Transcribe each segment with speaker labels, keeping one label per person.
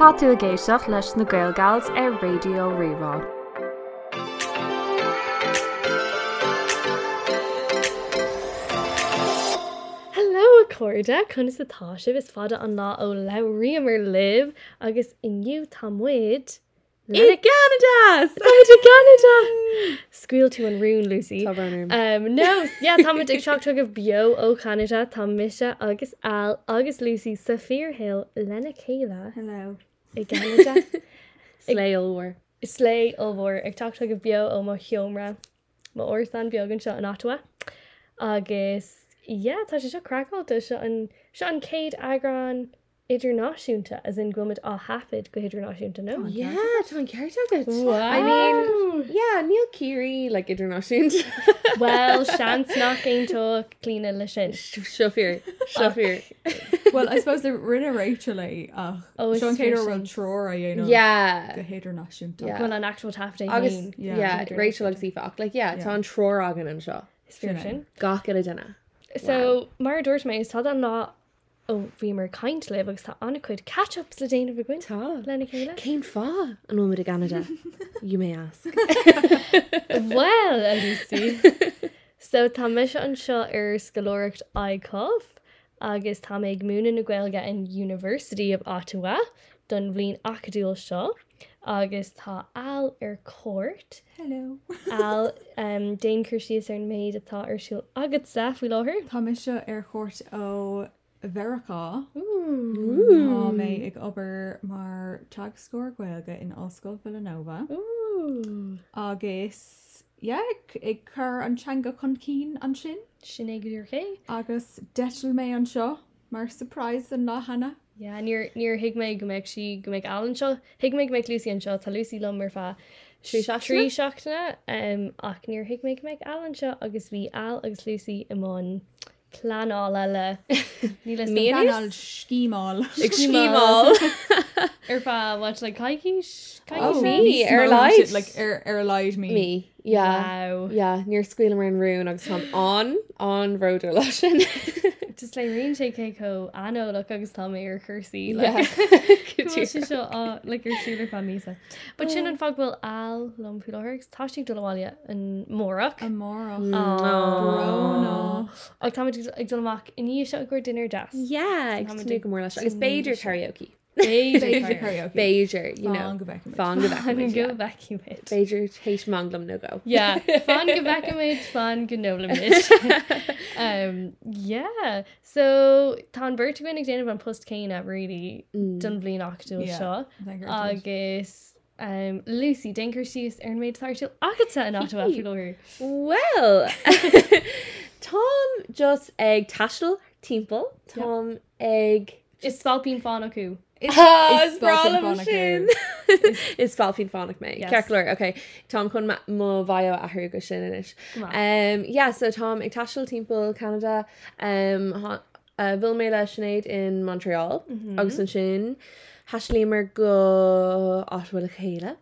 Speaker 1: Tá tú a géisioach leis na ggéilgails ar radio rirá.
Speaker 2: Hello acorda chunas atá sib is fada an ná ó leiríamar liv agus inniu tamid
Speaker 3: I Canada
Speaker 2: Canada Scuil tú an rún Lucy.
Speaker 3: Tá
Speaker 2: Um, no, yeah, tá ag seach tug ah bio ó Canada tá mie agus Al agus Lucy Saphir Hill lena céile
Speaker 3: Hello
Speaker 2: i Canada
Speaker 3: Sléolhar
Speaker 2: is slé óhór ag tá tug ah bio ó má hiomra má orstan beaggan seo an Ottawa agus yeah, tá sé seo craáilta se an se an céad agran idirnáisiúnta as in gomit á hafid go idirnáisiúnta nó.
Speaker 3: Yeah, tá an ceir agad I
Speaker 2: Wow.
Speaker 3: mean yeah, Neil Curie like international
Speaker 2: Well sean nach éontó clína lei sin.
Speaker 3: Shofir Shofir
Speaker 4: well, I suppose the rinne Rachel ach
Speaker 2: Oh, it's
Speaker 4: Sean Cater
Speaker 2: Rachel.
Speaker 4: run Troy you know
Speaker 3: yeah
Speaker 4: the hater national
Speaker 3: Yeah.
Speaker 2: Well an actual tafting
Speaker 3: agus
Speaker 4: yeah,
Speaker 3: yeah
Speaker 2: international.
Speaker 3: Rachel agus ífach like yeah tá
Speaker 4: Yeah.
Speaker 3: an tror agan an seo
Speaker 2: excursion.
Speaker 3: gach a dena
Speaker 2: So mar dúirt mé is tá an ná ó bhí mar caiint le agus tá anna chuid catchup le déanamh a gin
Speaker 3: Tá
Speaker 2: lena chéile?
Speaker 3: Céim fá an nóid a Canada you may ask
Speaker 2: Well a Lucy. So tá me se an seo ar scalóiret aicoh agus tá méid múna na ghilga in University of Ottawa don bhlín acadúil seo agus tá all ar cót
Speaker 4: hello
Speaker 2: all um, déoncur sios ar méid atá ar siúil agad sa bhí láthir.
Speaker 4: Tá me seo ar chót ó Verá
Speaker 3: Ooh.
Speaker 4: Tá mé Ah, ag obair mar tag scór ghilga in Oscail Villanova
Speaker 2: Ooh.
Speaker 4: agus yeah, ag- ag chur antseanga chun cín an sin
Speaker 2: Sin égur ché?
Speaker 4: agus deitil mé an seo mar surprise an lá hena
Speaker 2: Yeah, níor níor hiigmeid go meid si go meid Allan seo hiigmeid meid Lucy an seo tá Lucy lomar fa
Speaker 3: Trí
Speaker 2: trí
Speaker 3: seachtaine?
Speaker 2: seachna um, ach níor hiigmeid meid Allan seo agus bhí all agus Lucy i món planála le ní
Speaker 3: Mianais?
Speaker 2: le
Speaker 4: Canal scíáil
Speaker 3: Ag
Speaker 2: Scímáil.
Speaker 3: scímáil.
Speaker 2: ar Er fa wat le caiiciis
Speaker 3: Oh,
Speaker 2: mé?
Speaker 3: me, ar leid?
Speaker 4: like ar ar leid mí
Speaker 3: me yeah
Speaker 2: Wow.
Speaker 3: yeah níor scuil mar an rún agus tá an an roidir lei sin
Speaker 2: Just le rion sé cé có anó le agus tá mé ar chusaí
Speaker 3: Yeah.
Speaker 2: le ah, ligarsúler fan mísa. Ba sin an faghfuil all lomúlairs táisiigh do leháile an mórach
Speaker 4: a mór
Speaker 3: Mm. Aw.
Speaker 2: ag tá ag donach iní se gur dinner das.
Speaker 3: Mm. Yeah,
Speaker 2: Tá
Speaker 3: ag
Speaker 2: mu
Speaker 3: tú go mór leis agus Beiidir karaoke. Beiidir, you know. Fan
Speaker 4: Fan
Speaker 3: go
Speaker 2: An go
Speaker 3: bheith.
Speaker 2: vacuumid.
Speaker 3: Beiidir teis manglam nó go.
Speaker 2: Ja, fan go vacuumid fan gnolamid. Ja, Um, so tá an bhirt goin ag déanamh an post céin a ri don bblion achú
Speaker 4: Yeah.
Speaker 2: seo. agus um, Lucy Dinker sios ar méid tartil agata in Ottawa
Speaker 3: Hee.
Speaker 2: fiúir.
Speaker 3: Well Tom just ag tastal timppel Tom ag
Speaker 2: Is sápín fán acu.
Speaker 3: Is
Speaker 4: spalpin
Speaker 3: brálam
Speaker 4: fánacht
Speaker 3: sin. Is fáilfin fánnach mé.
Speaker 2: Yes.
Speaker 3: Ceir, ok. Tom chun ma- mó bhaio athú go sin inis.
Speaker 2: Come on.
Speaker 3: Um, yeah, so Tom ag tastal timppel Canada um, ha- uh, bhil mé le sinnéad in Montreal agus an sin Haslímar go áhfuil a chéile.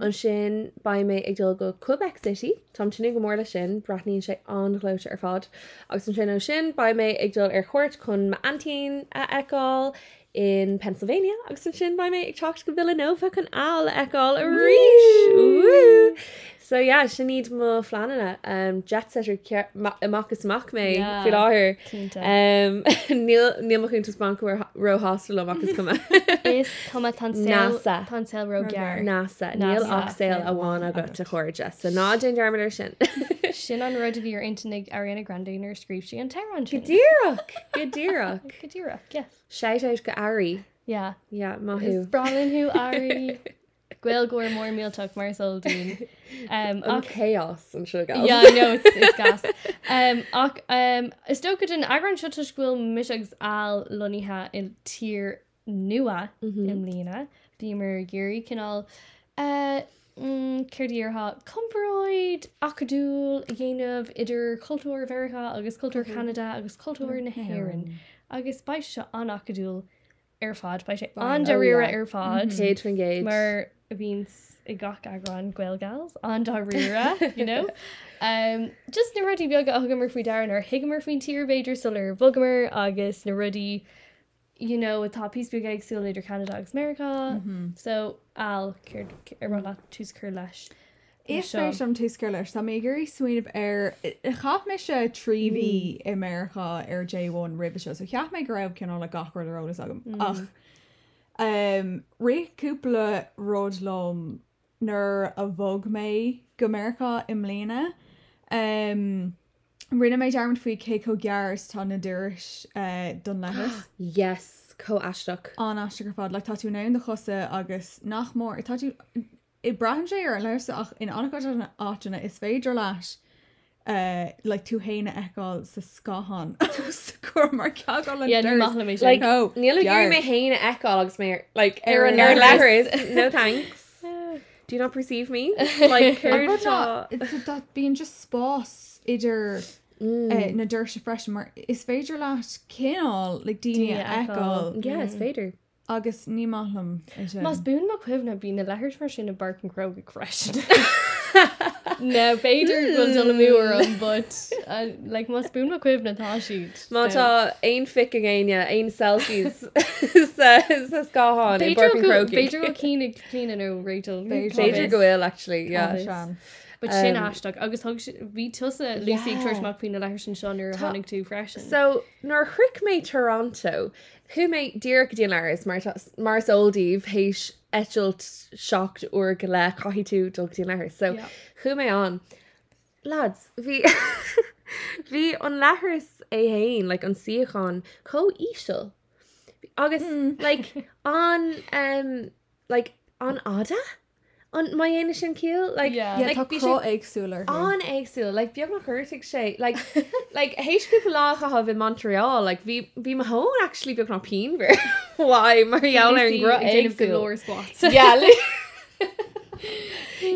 Speaker 3: An sin ba mé ag dul go Quebec City, Tom sinú go mórla sin bratníín sé anglóte ar fád. agus an sin ó sin ba mé ag dul ar chuirt chun ma antín a eáil in Pennsylvania, agus an sin ba mé ag techt go Villanova chun all eáil a ríis. So yeah, sin níd má flaanana um, jet setter amach is mac mé
Speaker 2: Yeah.
Speaker 3: fi láhir.
Speaker 2: Cínta.
Speaker 3: Um, Níl níl chun tú banc ro hostel amach is cuma.
Speaker 2: Is Thomas
Speaker 3: NASA.
Speaker 2: Tansel ro gear.
Speaker 3: NASA
Speaker 2: NASA.
Speaker 3: níl achsil a bháin agat a chuirde sa ná den dearmar sin.
Speaker 2: Sin an rud a bhí ar intanig Ariana Grandear scríb si an Tehran sin.
Speaker 3: Godíach Godíach
Speaker 2: Cadíra, yes.
Speaker 3: Seitéis go airí
Speaker 2: Yeah. Is
Speaker 3: máthú.
Speaker 2: Bralin who Ari. Gwael gore more mealtuck Marcel Dean. Um,
Speaker 3: An
Speaker 2: ac-
Speaker 3: chaos an sugar.
Speaker 2: Yeah, I know it's, it's gas. Um, ac, um, is stocha den agran sitascuil misegus al loníthe in tír nua
Speaker 3: Mhm.
Speaker 2: im lína Bímar géirí cinál Uh, ceirdíartha comproid, mm, acadúil, a dhéanamh idir cultúir Vericha agus cultúir
Speaker 3: Mm-hmm.
Speaker 2: Canada agus cultúir na Haan agus baiis se an acadúil ar fád, baiis sé an de
Speaker 3: oh,
Speaker 2: rira
Speaker 3: yeah.
Speaker 2: ar fád.
Speaker 3: Géid fan géid.
Speaker 2: Mar a bhís i gach agran ghilgails an dáíra, you know? Um, just na rudí beag a thugamar faoi daran ar higamar faoin tíir beidir solar bhugamar agus na rudí you know atá písú gaag sú leidir Canada agus America so al cur ar bhla túús chur leis
Speaker 4: Is
Speaker 2: seo.
Speaker 4: fér sem túscar leis Tá mé gurí swinmh ar chaaf me se tríhí i America ar J1 rib se so cheaf mé go raibh cin le gachar
Speaker 3: Mm.
Speaker 4: arólas agam ach Um, réúpla ródlóm nar a bhóg mé go America im léna rinne méid dearmid faoi cé có gearas tá na dúiris eh, don lehas.
Speaker 3: Yes, có aisteach.
Speaker 4: an asiste gur fad le tatú ná de chosa agus nach mór i tatú i brahan sé ar an leir ach in anána ána is féidir leis eh, le tú héine eáil sa scahan chu mar ceá le
Speaker 2: Yeah, ní maith le mé sin. Like,
Speaker 4: go
Speaker 3: Níl gur mé héine eágus mé like ar an
Speaker 4: Ar
Speaker 3: air
Speaker 4: an
Speaker 3: leir no thanks. Do you not perceive me? Like cur seo.
Speaker 4: dat bíon just spás idir
Speaker 3: Mm.
Speaker 4: eh, na dúir se freisin mar is féidir leis cinál le daine
Speaker 2: Daoine eagáil.
Speaker 4: eáil
Speaker 3: Yes, Vader.
Speaker 4: agus ní maithlam é sin.
Speaker 2: Mas bún má cuimh na bí na lehirir mar sin na bar an gro go crash. No féidir go donna múór an but uh, like má bún má cuimh natá siad.
Speaker 3: Mátá ein fi agéine ein selfies sa sa scaáin i Burpin Croki.
Speaker 2: Beiidir go cínig clean ó Rachel
Speaker 3: Beiidir
Speaker 4: Beidir
Speaker 2: But
Speaker 3: go ill actually, yeah.
Speaker 2: Cofidh.
Speaker 4: Sean.
Speaker 2: sin
Speaker 3: Um,
Speaker 2: aisteach agus thug si- bhí tusa Lucy
Speaker 3: Yeah.
Speaker 2: Churchach faoin na leir sin seanir
Speaker 3: Tá-
Speaker 2: hánig tú freisin.
Speaker 3: So nor hric mé Toronto, chu mé dear go dianaris mar mar oldíh hééis eilt secht uair go le chohí tú dul dianair. So
Speaker 2: Yeah.
Speaker 3: chu mé an. Lads, hí hí an lethris é héin le an siáán có ísel. Agus
Speaker 2: Hmm.
Speaker 3: like an um like an ada? An mai héine sin cíal? Like
Speaker 2: Yeah.
Speaker 4: Yeah,
Speaker 3: like,
Speaker 4: tá
Speaker 3: bhí sé- Ah,
Speaker 4: cro agsúlar.
Speaker 3: an éagsú, like beag nach chuirtigh sé, like like héis pe láchahabh in Montreal, like bhí bhí ma hón actually beag nach pínver. Why mar eall ar an gro éagsú.
Speaker 2: glóir spot.
Speaker 3: Yeah. li-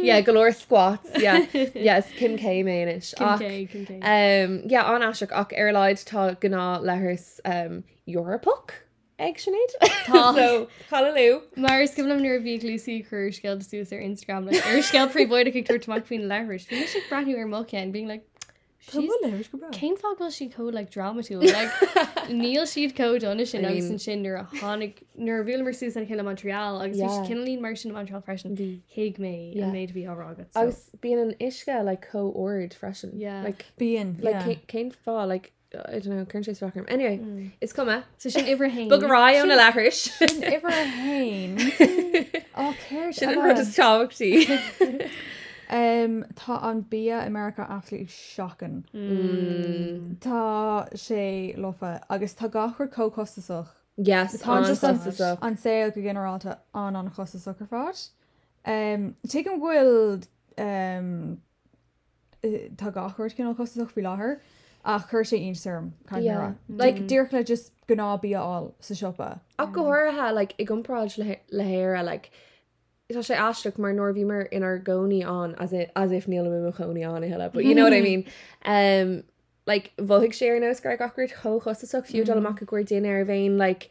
Speaker 3: Yeah, galore squats. Yeah. Yes, Kim K manish.
Speaker 2: Cé
Speaker 3: Um, yeah, an asach ach airlaid tá gná leths um, Europach ag sinnéad so, Hallú
Speaker 2: Mar is gom nuir bhí Lucy chur scéil deú ar Instagram le ar scéil príbóid a chuirtach faoin leir. Bhí si brathú ar mocin bíon le
Speaker 4: Tá bhfuil léir go bra.
Speaker 2: Kein fogil si có le dramaú níl siad có donna sin
Speaker 3: I
Speaker 2: agus
Speaker 3: mean-
Speaker 2: an sin nuair a tháinig nuair bhil mar suas an chéile Montreal agus
Speaker 3: Yeah.
Speaker 2: bhí cinlín mar sin na Montreal freisin hiig mé
Speaker 3: Yeah.
Speaker 2: a méid bhí árágat
Speaker 3: agus bíon an isce le co-ord freisin
Speaker 2: Yeah.
Speaker 3: like,
Speaker 4: Bíon
Speaker 3: like, céim fá like, I don't know chun sé rock anyway mm. is cuma
Speaker 2: so sin ihar hain
Speaker 3: Bugrá na lethris
Speaker 4: Iver a hain Oh,
Speaker 3: sin ru is táhachttí
Speaker 4: Tá an bí America aflí shockan
Speaker 3: Hmm.
Speaker 4: Mm. Tá sé lofa agus tá gachar cócostasach
Speaker 3: Yes
Speaker 4: Tá just an
Speaker 3: an
Speaker 4: an sé go generalta an an chosta sucker fát Tu an bhfuil um, eh, tá gachar cin costaach fi láthair a chur sé insarm
Speaker 3: Yeah. Hmm.
Speaker 4: like dúirch le just gná bíáil sa siopa
Speaker 3: Ach go háirthe like, i gomráid le- lehéir a like, Tá sé astruach mar nóir bhímar inar gcóí an as i- as if níl mu choí an i heile, but you know what I mean. Um, like bhóigh sé ar nós gur gacuirt chochosach fiú amach go daine ar bhéin like,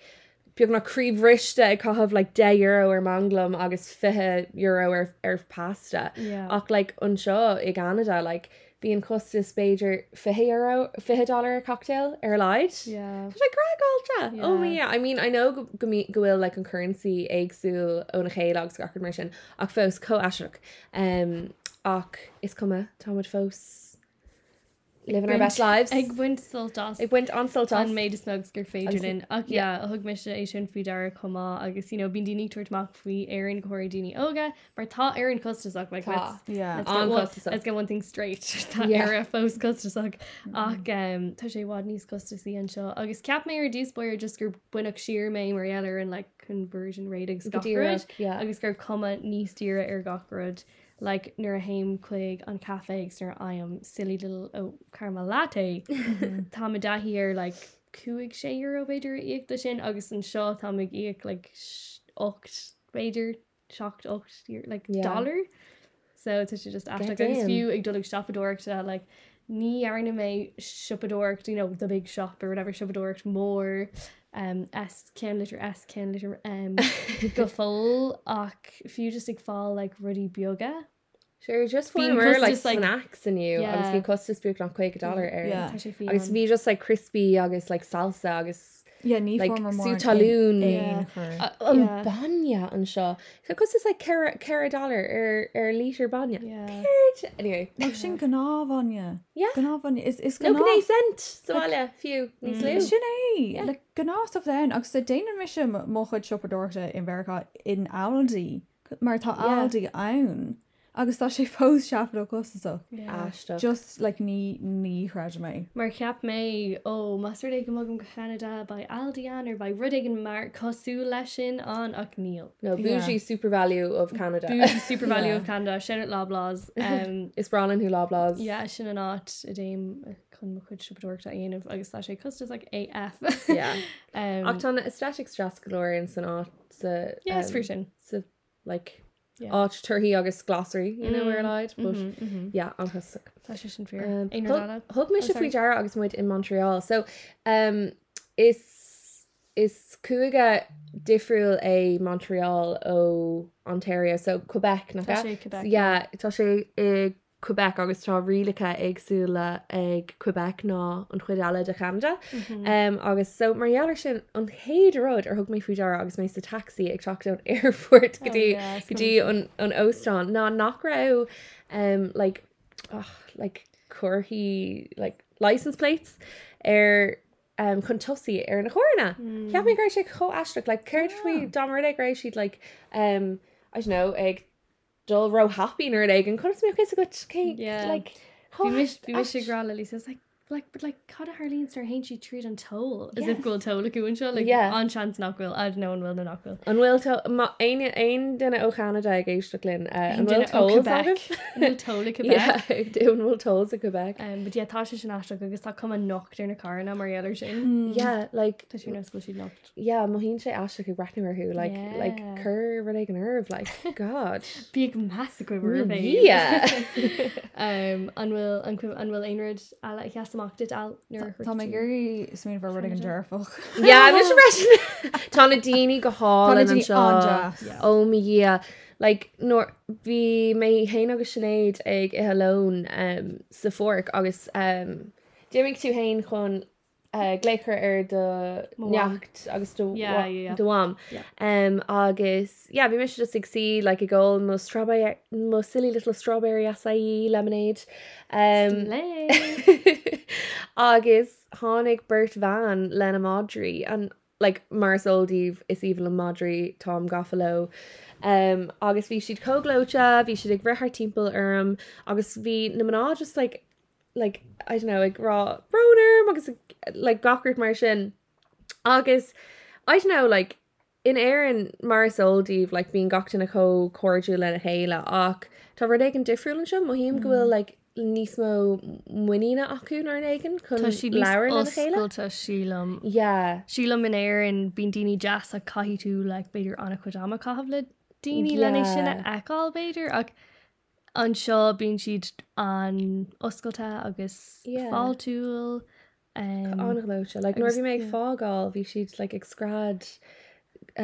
Speaker 3: beag naríomh riiste ag chohabh like, 10 euro ar manglam agus fithe euro ar, ar pasta.
Speaker 2: Yeah.
Speaker 3: ach like, an seo i Canada like, bhí an costa spéidir fi euro fi dollar a cocktail ar leid. Like Greg Ultra. Yeah. Oh my yeah. I mean, I know go go me- go will like on currency agsú on a chélogs gachar mar sin ach fós co asruk. Um ach is cuma Thomas fós living our best lives.
Speaker 2: ag buint sultás
Speaker 3: It went on salt
Speaker 2: an
Speaker 3: on
Speaker 2: méid is nugs gur féidir in ach yeah, a thug me sin é sin fao dar comá agus you know, bín daoine tuairtach faoi éann choir daoine óga mar tá éann costaach le
Speaker 3: Tá.
Speaker 4: yeah.
Speaker 2: Let's
Speaker 3: On
Speaker 2: get one-
Speaker 3: Costasach.
Speaker 2: let's get one thing straight
Speaker 3: Yeah. Mm-hmm.
Speaker 2: ar a fós costaach ach um, tá sé bhád níos costaí an seo agus ceap mé ar dúspóir just gur buineach siir mé mar ealar an le conversion ratings
Speaker 3: Díreach, yeah.
Speaker 2: agus gur comma níos tíre ar gachród le nuair a haim chuig an caféigs nar I am silly little ó carma latte
Speaker 3: Mm-hmm.
Speaker 2: Tá a dahíar le cuaig sé euro beidir íochtta sin agus an seo tá ag íoc le 8 beidir 8 le
Speaker 3: Yeah.
Speaker 2: dollar. So tu sé just
Speaker 3: God
Speaker 2: after agus
Speaker 3: damn.
Speaker 2: fiú ag dolig shopadorta uh, like ní airna mé shopadort, you know, the big shop or whatever shopadort mór um s can litter s can litter um go full ach fiú just ag fá like ruddy bioga.
Speaker 3: Sure just
Speaker 2: Being
Speaker 3: one more
Speaker 2: costas, like-
Speaker 3: like snacks in
Speaker 2: Yeah.
Speaker 3: you. Yeah. Obviously cost us book on quake a dollar
Speaker 4: Yeah.
Speaker 3: air.
Speaker 2: Tá sé fi
Speaker 3: Agus
Speaker 2: an.
Speaker 3: vi just like crispy agus like salsa agus
Speaker 4: yeah, ní
Speaker 3: like,
Speaker 4: formar mór
Speaker 3: Sue
Speaker 4: in-
Speaker 3: Talún.
Speaker 4: in
Speaker 2: Yeah.
Speaker 4: chur.
Speaker 3: A- an
Speaker 2: Yeah.
Speaker 3: banja an seo cos is like cara cara dollar er, ar ar lítir banja
Speaker 2: Yeah.
Speaker 3: Peard. anyway
Speaker 4: Ach, sin gnáhhaine
Speaker 3: Yeah.
Speaker 4: gnáhhaine is is
Speaker 3: no
Speaker 4: gnáh-
Speaker 3: gné cent sáile fiú níos
Speaker 2: Mm.
Speaker 4: Is eh?
Speaker 3: lú
Speaker 4: sin é le gnáh den agus sa déanaan mi sem mo chuid sipadorta in bherá in Aldaí mar tá
Speaker 3: Yeah.
Speaker 4: Aldaí ann agus tá sé fós seafla costaach
Speaker 2: Yeah.
Speaker 3: Asta
Speaker 4: just like ní ní chreid mé
Speaker 2: Mar ceap mé ó Masúir go mugam go Canada ba Aldian ar ba rudigan mar cosú lei sin an ach níl.
Speaker 3: no bougie super value of Canada
Speaker 2: Super value of
Speaker 4: Yeah.
Speaker 2: Canada sin láblás um,
Speaker 3: is bralin who loblaws
Speaker 2: Yeah, sin an áit a déim eh, chun mo chuid sipadúirta aanamh agus tá sé costas ag AF.
Speaker 3: yeah
Speaker 2: Um,
Speaker 3: Octana aesthetic stress galore in san art sa
Speaker 2: yeah, it's
Speaker 3: um,
Speaker 2: free sin.
Speaker 3: sa like
Speaker 2: Yeah. Mm. Mm-hmm.
Speaker 3: art turhi agus glossary you know where lied but yeah anchas
Speaker 2: Tá sé sin
Speaker 3: Um,
Speaker 2: fear. Éonradana.
Speaker 3: Thg me
Speaker 2: Oh,
Speaker 3: se
Speaker 2: sorry.
Speaker 3: fao dear agus muid in Montreal. So um, is is cuaige difriúil é Montreal ó Ontario, so Quebec nach
Speaker 2: Tá sé Quebec,
Speaker 3: Yeah, tá sé i Quebec agus tá rilacha agsúla ag Quebec ná an chuid eile de Canada.
Speaker 2: Mhm.
Speaker 3: Um, agus so marhealar sin an héadród ar thug mé fuidear agus mé sa taxi ag teach an airport
Speaker 2: Oh,
Speaker 3: gotí
Speaker 2: yeah, it's
Speaker 3: gotí an óán ná nach ra um, like, oh, like cuairthaí like license plates ar um, chun tosaí ar na chóirna. Ceap
Speaker 2: Hmm.
Speaker 3: mé gur sé cho eisteach le chuir faoi domara ag éis siad like um, I don't know ag dul ro happy nuair ag an chus mé chéis a go cé
Speaker 2: Yeah.
Speaker 3: like oh,
Speaker 2: Bhí mis- bhí mis
Speaker 3: Ash-
Speaker 2: sé grala lí says like like but like cad a Harlín ar hen she treat an toll as if go to look an seo like
Speaker 3: Yeah.
Speaker 2: an chance nachhfuil a no an will na nachhfuil
Speaker 3: An bhfuil to- ma- aon aon duine ó Canada ag éiste linn an bhfuil
Speaker 2: to
Speaker 3: an bhfuil tos a Quebec.
Speaker 2: um but yeah tá sé sin astra agus tá cum an nocht ar na carna mar eile sin
Speaker 3: Yeah, like
Speaker 2: Tá siú nascoil si nocht
Speaker 3: yeah, má hín sé as go breitnar thu like like
Speaker 2: Yeah.
Speaker 3: cur ru ag an nerv like god.
Speaker 2: Bí massacre
Speaker 3: Yeah.
Speaker 2: um an bhfuil an cuim- an bhfuil einrid a le cheasamach dit al
Speaker 4: Tá mé gurí smíon bhar ru an dearfach
Speaker 3: Yeah, mis bre Tána daoine go hála an seo.
Speaker 2: Oh,
Speaker 3: ó mi dhé Oh, like nóir bhí mé héana agus sinnéad ag i helón um, sa fóric agus um, déimiigh tú hain chun uh, gléchar ar do
Speaker 2: Mo bhain.
Speaker 3: neacht agus do
Speaker 2: Yeah, yeah, yeah.
Speaker 3: doam
Speaker 2: Yeah.
Speaker 3: um, agus yeah, bhí mis just ag si le i ggóil mo strawberry mo silly little strawberry asaí lemonade um,
Speaker 2: le
Speaker 3: agus hánig Bert van lena Madri an like Mars Oldíh is even le Madri Tom Goffalo um, agus bhí siad coglocha bhí siad ag brethar timppla orm agus bhí na maná just like like I don't know ag rá broner agus ag- like gachart mar sin agus I don't know like in Aaron Mars Oldíh like bíon gachtain a có cordú lena héile ach Tá ru ag an difriúil an sin mo híim go
Speaker 2: Mm.
Speaker 3: bhfuil like níos mó muína acuún ar an éigen chun
Speaker 2: Tá si
Speaker 3: leir lena chéile
Speaker 2: leilta sílam
Speaker 3: yeah
Speaker 2: Síla min éir an bín daoine jazz a caiú le beidir anna chudáama caihabh le daoine lena sinna eáil beidir ach an seo bín siad an oscailte agus um,
Speaker 3: Yeah.
Speaker 2: fáilúil
Speaker 3: anlóte like
Speaker 2: Mm.
Speaker 3: nuair
Speaker 2: agus-
Speaker 3: bhí mé ag
Speaker 2: yeah.
Speaker 3: fágáil bhí siad like ag scrad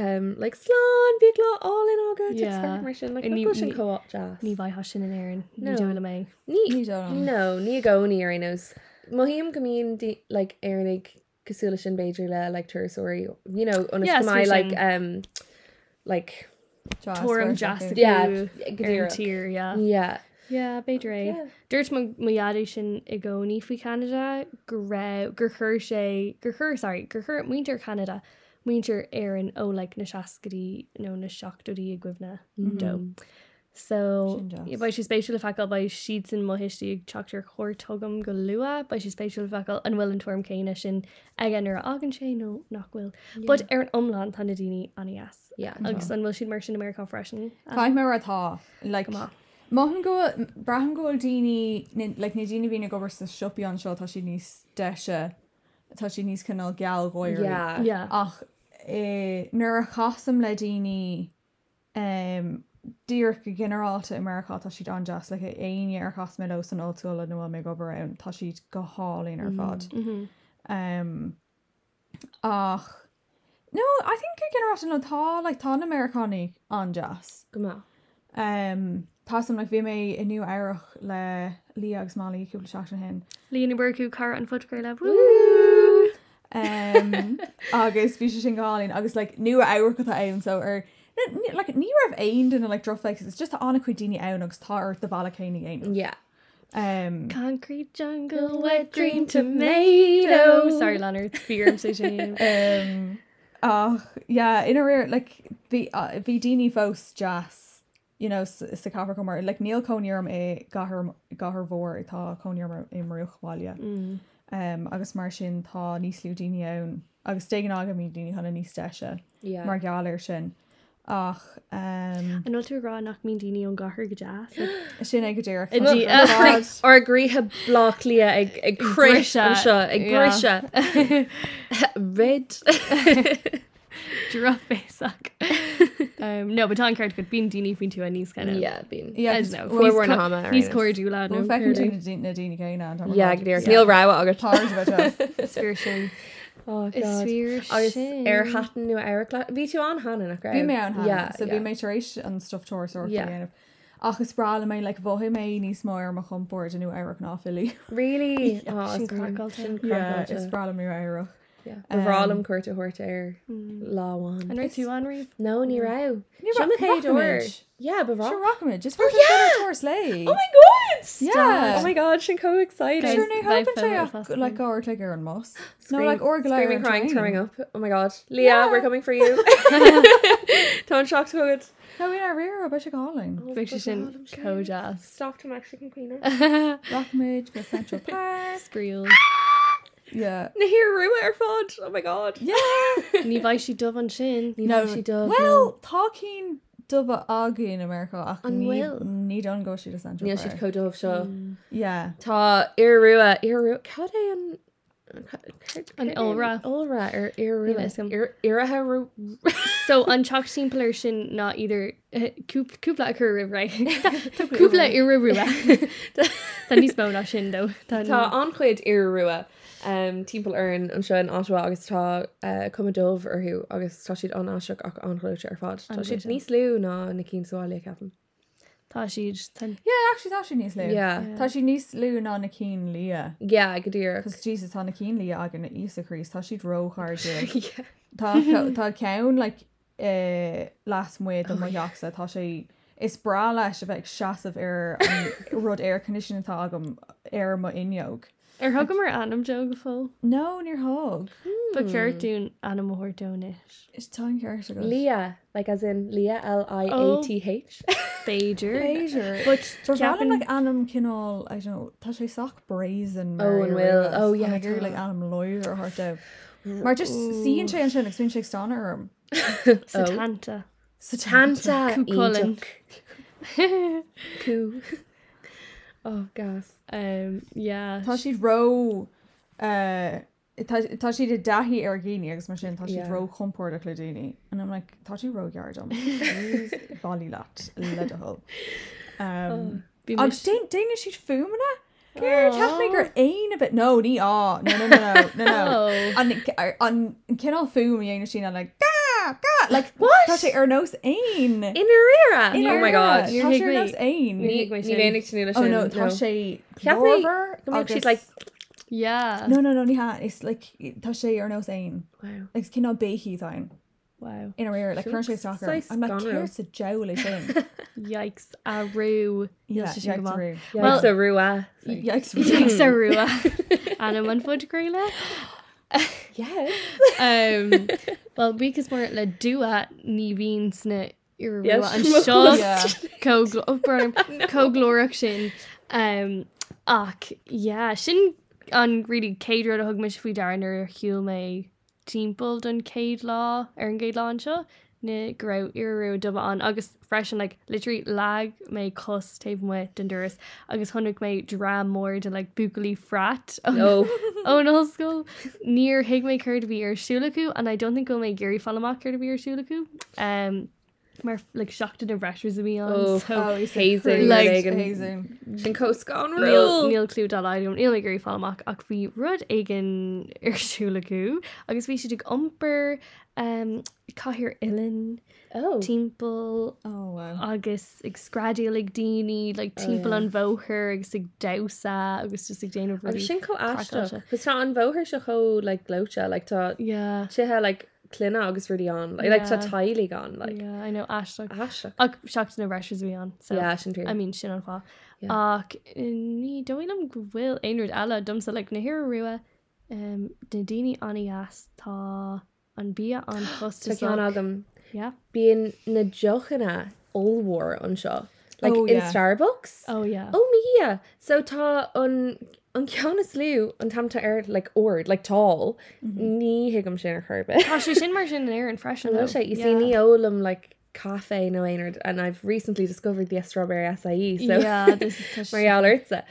Speaker 3: um, like slán bhí lá áil in ága
Speaker 2: Yeah.
Speaker 3: mar sin like,
Speaker 2: And ní-
Speaker 3: ní sin
Speaker 2: ní-
Speaker 3: co-op jazz
Speaker 2: ní bhaithá sin in éan
Speaker 3: No.
Speaker 2: ní do le mé.
Speaker 3: ní
Speaker 4: Ní
Speaker 2: Mm.
Speaker 4: dám.
Speaker 3: no ní gcóí ar inos Mohíim gomíon like airnig cosúla sin Beiidir le like tuaúirí you know on
Speaker 2: Yeah,
Speaker 3: mai
Speaker 2: sure
Speaker 3: like
Speaker 2: sin.
Speaker 3: um like
Speaker 2: Tuam jazz
Speaker 3: Yeah,
Speaker 2: ar
Speaker 3: gníomhach.
Speaker 2: tír
Speaker 3: yeah
Speaker 2: Ja beidir é.
Speaker 3: Yeah.
Speaker 2: Dúirt maiadú sin i gcóí faoi uh, Canada go raibh gur chur sé gur churáir gur chur muintear Canada muintear ar an ó le na seacadí nó na seachúí a gcuibna do. So
Speaker 4: Sin jazz.
Speaker 2: i bhaid si spéisiúil feáil ba siad san mohiistí ag teachtar chóirtógam go lua, ba si spéisiúil feáil an bhfuil an tuam céine sin ag an ar agan sé nó nachhfuil. Bud ar an omláán tanna daoine anías.
Speaker 3: yeah
Speaker 2: Agus an bhfuil sin mar sin America freisin.
Speaker 4: Táid mar atá
Speaker 2: Come on.
Speaker 4: Mohan go brahan go daine le na daine bhína gobar sa siopí an seo tá si níos deise tá si níos canál geall goir
Speaker 3: yeah
Speaker 2: Yeah.
Speaker 4: ach eh, nuair a chasam le daoine um, dír go generalta Americá tá siad an jazz le aine ar chas me los an óúla nua mé go an tá siad go hálín
Speaker 2: Mm-hmm,
Speaker 4: ar fad um, ach no I think go generalta nótá le tá an Americanig an jazz
Speaker 3: go má
Speaker 4: um, Tásam le bhí mé inniu airech le líags málaí cúpla seach na hen
Speaker 2: Líana Burú car an fudgraile
Speaker 4: um, agus bhí sé sin gáin agus like, nua áhar go ann so ar n- n- like, ní rah aon duna le droflex is just anna chu daine ann agus tá ar do bhla chéine aon.
Speaker 3: Yeah.
Speaker 4: Um,
Speaker 2: Concrete jungle, wet dream tomato. Sorry, Leonard. Fear station.
Speaker 4: um, ach, yeah, in a rare like the uh, the Dini Vos jazz, you know, s- is the cover comer like Neil Conium e gahar gahar vor tá Conium e Maruchwalia. Mm. Um, agus mar sin tá níos lú daine ann agus dégan aga mí daine hana níos deise
Speaker 3: Yeah.
Speaker 4: mar gealir sin ach um,
Speaker 2: An tú rá nach mín daine an gahar go deas.
Speaker 4: sin ag go déir
Speaker 2: Dí-
Speaker 3: Ar grí- Ar gríthe blach lia ag ag cruise
Speaker 2: grisha,
Speaker 3: an seo ag
Speaker 2: yeah.
Speaker 3: grisha red
Speaker 2: Drop faceach. Um, no, but tá ceart go bíon daine fin tú a níos cena.
Speaker 3: yeah bín
Speaker 4: Yeah,
Speaker 2: I
Speaker 4: just-
Speaker 2: don't know.
Speaker 4: well,
Speaker 3: we're
Speaker 2: co-
Speaker 3: Bahama,
Speaker 2: Níos
Speaker 3: right?
Speaker 2: cuairú lá
Speaker 4: Well, fecinn tú na dí- na daine céine
Speaker 3: yeah ag níor níl rá agat
Speaker 4: tá
Speaker 2: Sphere sin.
Speaker 3: Oh, agus
Speaker 2: Sphere sin.
Speaker 3: ar hatan nu air ví tú an hana nach raibh?
Speaker 4: Bhí mé an
Speaker 3: Yeah,
Speaker 4: há, so
Speaker 3: yeah.
Speaker 4: bhí mé tar éis an stoftóir
Speaker 3: Yeah.
Speaker 4: dhéanamh. Agus sprála mé le bhthe mé níos mór mar chumpóir denú airach náfilí.
Speaker 3: Really Oh,
Speaker 2: sin
Speaker 3: it's mad.
Speaker 2: crackle
Speaker 3: Sin crackle,
Speaker 4: Is
Speaker 3: yeah.
Speaker 4: sprála mí airach.
Speaker 3: Yeah.
Speaker 4: Um,
Speaker 3: Bhrálam cuairte thuirte ar láháin
Speaker 2: An raibh tú an raibh?
Speaker 3: No ní rah
Speaker 4: Ní
Speaker 3: Seanna
Speaker 4: ra-
Speaker 3: chéadúir
Speaker 4: Rockimage.
Speaker 3: Yeah
Speaker 4: Sure,
Speaker 3: bhrá
Speaker 4: Rockman, just for the tours lay.
Speaker 3: Oh my god
Speaker 4: Yeah.
Speaker 3: Oh my god sin co
Speaker 2: Guys,
Speaker 3: excited
Speaker 4: Sure, no,
Speaker 2: they
Speaker 4: hoping
Speaker 2: fell out
Speaker 4: to
Speaker 2: fast,
Speaker 4: you, like, or like Aaron Moss. No,
Speaker 3: Scream-
Speaker 4: like, or Glare.
Speaker 3: screaming, crying, throwing up. Oh my god, Leah, yeah. we're
Speaker 4: Yeah.
Speaker 3: coming for you. Don't shock so good.
Speaker 4: No, in our rear, I bet you're calling.
Speaker 2: Bhí sé sin co deas.
Speaker 3: Stop to Mexican Queen. Oh.
Speaker 4: Rockmage, Miss Central Park.
Speaker 2: Scríil.
Speaker 4: Yeah.
Speaker 3: Nahir Rua Air Fudge. Oh my god.
Speaker 4: Yeah.
Speaker 2: Ní bhaid si dubh an sin.
Speaker 3: No, she does.
Speaker 4: Well, talking dubba Augie in America, I
Speaker 2: An Will.
Speaker 4: need, need on go to the Central
Speaker 3: Níl
Speaker 4: Park.
Speaker 3: siad codómh seo.
Speaker 4: Yeah.
Speaker 3: Tá Irua, Irua, cadé an...
Speaker 2: An Ilra.
Speaker 3: Ulra ar
Speaker 2: Níl is
Speaker 3: Irua.
Speaker 2: gam.
Speaker 3: Ir- Iraha Ru...
Speaker 2: So an teach siimplair sin ná idir cúpla chu rih ra. Cúpla i rihrúla. Tá níos bó ná sin dó.
Speaker 3: Tá anchuid Irua. Um, timppel earn an seo in Ottawa agus tá uh, cumadómh arthú agus tá siad an áiseach ach anhlaúte ar fád. Tá siad
Speaker 2: Anghluite.
Speaker 3: níos lú ná na cín sáile ceapan.
Speaker 2: Tá siad tan
Speaker 4: Yeah, actually, that she needs Lou.
Speaker 3: Yeah.
Speaker 4: Tá sí níos lú ná na cín lia.
Speaker 3: Yeah, Gadir.
Speaker 4: Cos Jesus tá na cín lia agan na Isacrís, tá siad róáir
Speaker 3: yeah.
Speaker 4: Tá ce- Tá ceann le las muid do
Speaker 3: Oh
Speaker 4: maiachsa tá sé is bra leis a bheith seaamh ar an rud air condition tá agam ar mo inneog.
Speaker 2: Ar thugam mar anam de go fó.
Speaker 4: No níor hog.
Speaker 2: Ba ceirún anam mthirúnis.
Speaker 4: Is tá an ceir go
Speaker 3: Leah, like as in Leah, L I A T H.
Speaker 2: Beiidir.
Speaker 4: Léidir.
Speaker 2: But
Speaker 4: For Gavin
Speaker 2: ceapan-
Speaker 4: like Annam Kinall I don't know Tá sé soch brazen
Speaker 3: Oh, and Will. Oh, yeah,
Speaker 4: gur
Speaker 3: tá.
Speaker 4: like Annam Lloyd or hart out Mar just síon sé an sin explain sé stan erm
Speaker 2: Satanta.
Speaker 3: Tanta.
Speaker 2: Cúchulainn.
Speaker 3: Cú. Oh, gas.
Speaker 2: Um, yeah.
Speaker 4: Tá siad ro uh, tá siad a dahí ar géine agus mar sin tá siad
Speaker 3: Yeah.
Speaker 4: ro chumpóir a chluúine an am like tá si rogear am balí leat le hub Um,
Speaker 3: Oh,
Speaker 2: Bhí mu-
Speaker 4: agus dé déine siad fumana Ceafna gur aon a bit nó ní á no no no no, no
Speaker 2: Oh.
Speaker 4: an ar- an cinál fum dhéana sin an le "Gah, gah," like what tá sé ar nós aon
Speaker 3: In Arira. In oh my god.
Speaker 4: Tá
Speaker 2: Níor
Speaker 4: sé ar
Speaker 2: hiagmhaí.
Speaker 4: nós aon
Speaker 3: Ní
Speaker 2: Ní- ní
Speaker 3: bhénig tú níla
Speaker 4: Oh no, tá sé
Speaker 3: Ceafna-
Speaker 4: clever,
Speaker 3: Come on, she's
Speaker 4: agus-
Speaker 3: like,
Speaker 2: Yeah.
Speaker 4: No, no, no, ní ha, it's like, tá sé ar nós aon.
Speaker 3: wow.
Speaker 4: Like, cyn o beithi ddain.
Speaker 2: Wow.
Speaker 4: In a rear, like, current
Speaker 3: Shucks,
Speaker 4: soccer.
Speaker 3: so
Speaker 4: I'm like,
Speaker 3: scanner.
Speaker 4: here's a jowly thing.
Speaker 2: Yikes. A roo.
Speaker 4: Yeah,
Speaker 2: Yes, you
Speaker 4: yikes
Speaker 2: can
Speaker 4: roo.
Speaker 3: Yeah,
Speaker 2: Well-
Speaker 3: well, it's a ah. Rua.
Speaker 4: Yikes roo.
Speaker 2: Yikes a roo. Anam an fud gréile.
Speaker 3: Yes.
Speaker 2: um well because we're le dua ní vín sna ar
Speaker 3: Yes,
Speaker 2: an
Speaker 3: of
Speaker 4: course.
Speaker 2: seo coglóach sin um ach yeah sin an really céidir a thug me fao darnar hiú mé timppla don céad lá ar an géad lá an seo na gra iú do an agus freisin like literally lag mé cos taobh mu den duras agus thunig mé dra mór de like bucalí frat
Speaker 3: No.
Speaker 2: Oh no school near Higmay Curd to be your Shulaku and I don't think go make Gary Falamak to be your Shulaku. Um mar like shocked at a rashers a me
Speaker 3: Oh,
Speaker 2: on so
Speaker 3: hazing
Speaker 2: Like,
Speaker 4: Hazing.
Speaker 3: sin coascán
Speaker 2: Níl
Speaker 3: real
Speaker 2: níl clú dal aún íl gurí fáach ach bhí rud aigen arsúla acu agus bhí si um, ag omper caiir ilan timppel
Speaker 4: Oh, wow.
Speaker 2: agus ag scradíal ag daoine le
Speaker 3: Oh,
Speaker 2: timppel an bhóthir agus ag dosa agus just ag déanamh
Speaker 3: agus sin có
Speaker 2: Crackdown.
Speaker 3: aisteach chus tá an bhóthir se cho le glote le tá
Speaker 2: yeah
Speaker 3: sithe le cluna agus ruí an le tá
Speaker 2: Yeah.
Speaker 3: tailí gan le
Speaker 2: yeah I know Ashach
Speaker 3: aisteach
Speaker 2: ach seach na reis bhí an so
Speaker 3: Yeah, sin
Speaker 2: I
Speaker 3: true.
Speaker 2: mean sin an fá
Speaker 3: Yeah.
Speaker 2: ach uh, ní dohfuil am bhfuil aonúd eile dumsa le na hir ruúa um, na daoine anías tá an bí an
Speaker 3: Tá ceann
Speaker 2: chusta
Speaker 3: agam
Speaker 2: yeah
Speaker 3: bíon na jochanna allhór an seo like
Speaker 4: Oh,
Speaker 3: in
Speaker 4: yeah.
Speaker 3: Starbucks
Speaker 2: oh yeah
Speaker 3: ó mí so tá an an ceannas liú an tamta air le ord le tá
Speaker 4: Mm-hmm.
Speaker 3: ní higamm sin ar churbe
Speaker 4: Ah,
Speaker 2: Tá sé sin mar sin air an freisin
Speaker 3: No sé you see neolum like cafe no einard and I've recently discovered the strawberry acai so
Speaker 2: Maria
Speaker 3: Marial Urza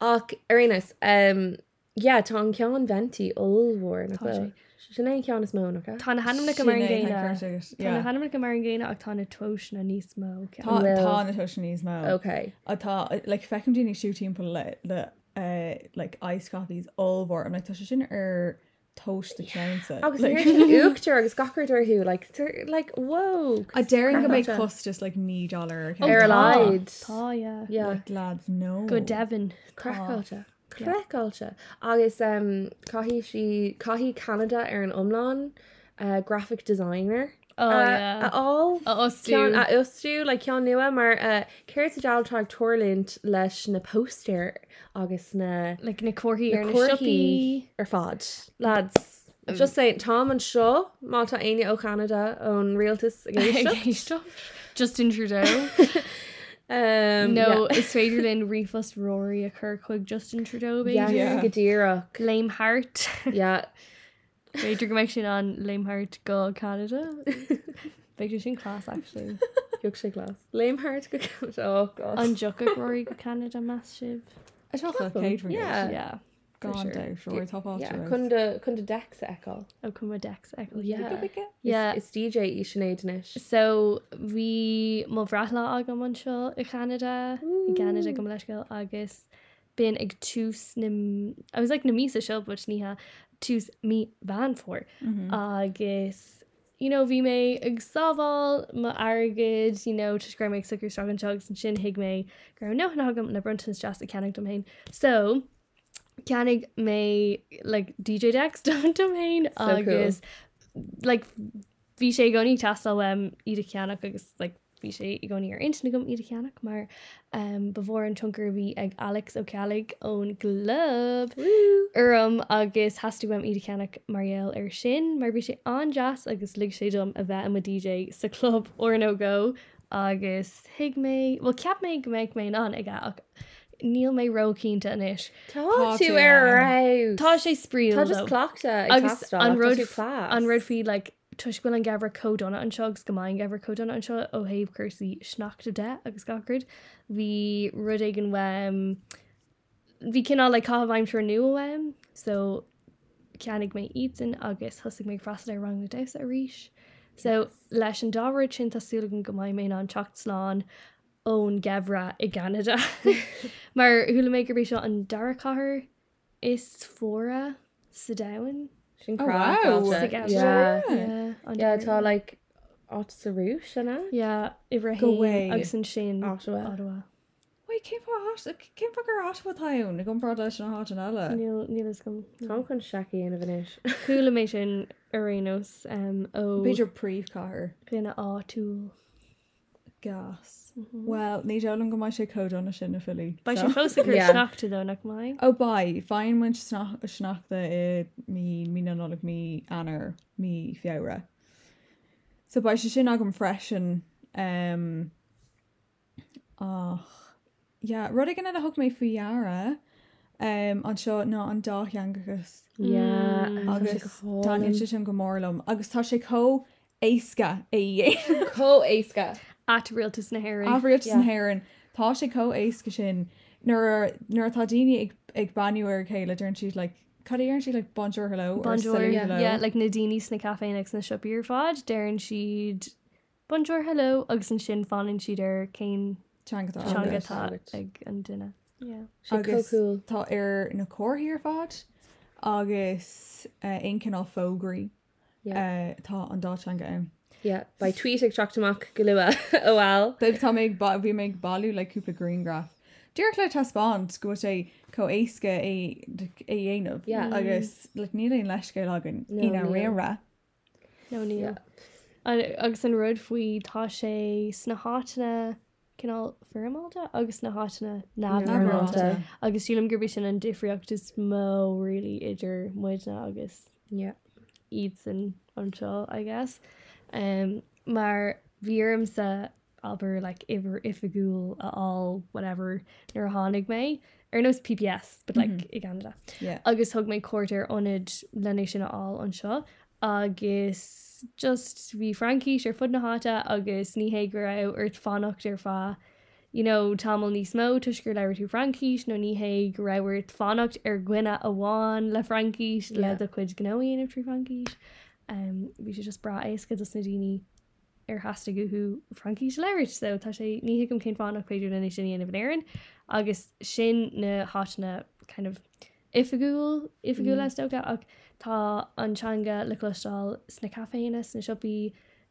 Speaker 3: och Arenas um yeah Tom Kion Venti Ulwar
Speaker 2: Tá sé.
Speaker 3: Sinead Kion is moan okay
Speaker 2: Tá na hanam na go mar an
Speaker 4: Sinné,
Speaker 2: ggéine
Speaker 4: thank
Speaker 2: Tá
Speaker 4: God,
Speaker 2: na
Speaker 4: yeah.
Speaker 2: hanam go mar an ggéine ach tá na tois na níos mó
Speaker 4: Tá
Speaker 3: Well.
Speaker 4: tá na tuisníos má
Speaker 3: okay
Speaker 4: atá le fecem dúnig siútíim po le le uh, like ice coffees all bhór am le tu sin ar toast de cheansa
Speaker 3: agus like, uachtar agus gacardar hu like they're, like whoa
Speaker 4: a daring go
Speaker 3: Crap,
Speaker 4: méid
Speaker 3: yeah.
Speaker 4: costas like ní dollar
Speaker 3: Ar
Speaker 2: Oh, Tá
Speaker 3: leid.
Speaker 2: Tá Oh, yeah.
Speaker 3: yeah
Speaker 4: lads no
Speaker 2: go Devon
Speaker 3: crackalta crackalta agus um cahi she cahi Canada ar an umlan uh graphic designer
Speaker 2: Oh,
Speaker 3: uh,
Speaker 2: yeah.
Speaker 3: at all Cean
Speaker 2: osú
Speaker 3: a osú le cean nua mar uh, céir a dealtáag tolint leis na postéir agus na
Speaker 2: le na cuairthaí
Speaker 3: na
Speaker 2: ar na
Speaker 3: cuairthaí
Speaker 2: sipi
Speaker 3: ar fád. Lads,
Speaker 2: Mm.
Speaker 3: just say Tom an seo mátá aine ó Canada ón rialtas a géisio.
Speaker 2: Geisio. Justin Trudeau
Speaker 3: Um,
Speaker 2: No is féidir linn rifas roií a chur chuig Justin Trudeau
Speaker 3: yeah.
Speaker 2: bé
Speaker 3: Yes,
Speaker 4: Yeah.
Speaker 3: Gadíach.
Speaker 2: Léimhart
Speaker 3: Yeah.
Speaker 2: féidir go meid sin an Léimhart go Canada Beiidir sin clás actually
Speaker 3: Jog sé glas. Léimhart go Canada. Oh, God.
Speaker 2: an jo roií go Canada massive
Speaker 3: Yeah.
Speaker 2: yeah
Speaker 3: sure. Yeah,
Speaker 4: chun
Speaker 3: chun de chun de dex eáil.
Speaker 2: ó cum dex ag le.
Speaker 3: Yeah.
Speaker 2: yeah
Speaker 3: Is DJ í sinnéis.
Speaker 2: So bhí má bhrethla agam an seo i Canada i Canada go leiscail agus bin ag túús I was like na mí a seo bud níthe túús mí bhean for agus you know bhí mé ag sábháil má agad you know tuisgur méid sugur strag an tugs an sin hiig mé gur nó agam na bruntan just a cenig domain so cenig mé like DJ Dex domain
Speaker 3: cool.
Speaker 2: agus like bhí sé gcóí tastal um, iad a ceannach agus like, bhí sé i gcóí ar intna gom iad a ceannach mar um, bhór an tungur bhí ag Alex ó Calig ón glub Urm agus hasú am iad a ceannach maréal ar sin, er mar bhí sé an jazz agus lig sé dom a bheith am a DJ sa club or nó go agus hiig mé bhil ceap mé go méid mé an ag ach níl mé rocínta inis.
Speaker 3: Tá
Speaker 4: tú
Speaker 3: tú ar
Speaker 4: ar.
Speaker 3: ra.
Speaker 2: Tá sé sprí
Speaker 3: Tá just clockta
Speaker 2: agus an rud an
Speaker 3: an
Speaker 2: rud fi like tuisfuil an gabhar codonna an segus gomáin gabhar codonna an seo ó héh chusaí snachta de agus gacrid hí rud ag an weim hí cinná le cáhaim se nu weim um, so ceannig mé ían agus thosigh mé frastal ar rang na deis a ríis so leis an dáhar sin tásúlagan gomáid mé an techt sláán ón gabhra i Canada mar thula mé gur bhí seo an darachaair is fóra sa dain.
Speaker 3: sin
Speaker 4: Oh,
Speaker 3: crack
Speaker 4: wow.
Speaker 3: áilte.
Speaker 4: Like,
Speaker 2: Together.
Speaker 3: Yeah.
Speaker 2: Yeah, on
Speaker 3: Yeah,
Speaker 2: your-
Speaker 3: tá like áit sarú sinna
Speaker 2: Yeah, Ibrahim,
Speaker 4: Go away.
Speaker 2: Agus an Shane,
Speaker 3: Ottawa.
Speaker 2: Ottawa.
Speaker 4: cin fa gur átáún na gom brada sin há an eile
Speaker 2: Neil, Neil is gone.
Speaker 3: Tá chun seaí ana bhanis.
Speaker 2: Cool amazing Arenos, um, oh,
Speaker 4: Beiidir príomh cáir
Speaker 2: Glenna O'Toole.
Speaker 4: gas
Speaker 3: Mm-hmm.
Speaker 4: Well ní delan go mai sé códonna sin na fillí
Speaker 2: By she close to her
Speaker 3: Yeah.
Speaker 2: snack to though, not mine.
Speaker 4: ó ba fáin mu snachta i mí mí nóla mí anar mí fiabhra. So ba sé sin agam freisin um, ach yeah, rud gan a thug mé faoheara um, an seo ná an dá angagus
Speaker 3: Mm.
Speaker 4: agus tá si sin go mórlam agus tá sé có E éca é dhé
Speaker 3: có éca
Speaker 2: At Realtus na Harry.
Speaker 4: áhríocht sanhéann tá sé có éca sin nuair nuair tá daine ag ag banúir chéile dúann siad le cadíar si le bonjour hello or
Speaker 2: Bonjour.
Speaker 4: silly
Speaker 2: Yeah.
Speaker 4: hello.
Speaker 2: yeah, like Nadine Sna Cafe next in the shop ear fod. Darren Sheed, Bonjour hello agus an sin fanan siidir céin
Speaker 4: teangatá.
Speaker 3: Teanga.
Speaker 2: seangatá
Speaker 3: Agus.
Speaker 2: ag an duine. Yeah.
Speaker 4: agus
Speaker 3: cool.
Speaker 4: tá ar na cóthíar fad agus uh, incinál fógraí
Speaker 3: Yeah.
Speaker 4: tá Uh, an dátanga an.
Speaker 3: Yeah. By tweet ag trachtach go lua ó well.
Speaker 4: Bib tá méid ba- bhí méid bailú le cúpla Greengraf. Díir le taspáint go é có éca é é dhéanamh
Speaker 3: Yeah.
Speaker 4: agus le níon leiscé agan
Speaker 3: No,
Speaker 4: ina
Speaker 3: níl.
Speaker 4: réra
Speaker 2: No ní.
Speaker 3: Yeah.
Speaker 2: An- agus an rud faoi tá sé sna hátainna cinál fermalta agus na hátainna
Speaker 3: Nábhramáilta.
Speaker 2: náhráta agus sílam gurbí sin an difriochttas mó rilí idir muidna agus
Speaker 3: Yeah.
Speaker 2: iad san anseo I guess. Um, mar bhíarm sa aber like iver if a ghoul at all whatever nar a hánig mé ar nó PPS but like mm -hmm. i Canada.
Speaker 4: Yeah.
Speaker 2: agus thug mé cuairtar onid lena sin á an seo agus just bhí Frankí ar fud na háta agus níhé go rah ar fannacht ar fá. You know, tamil níos mó tuisgur leir tú Frankis nó níhé go rahir fannacht ar gwine a bháin Er le Frankis le
Speaker 3: Yeah.
Speaker 2: a chuid gnáíon ar trí Frankis. Um, Bhí sé just bra éca dus na daoine ar hasasta goú Frankis leirt so tá sé ní gom cén fána chuidir lena sin anamh éan agus sin na hána kind of ifagúil ifagú
Speaker 3: Mm.
Speaker 2: le stoga ach tá antseanga le chlostal sna caféine sna sipi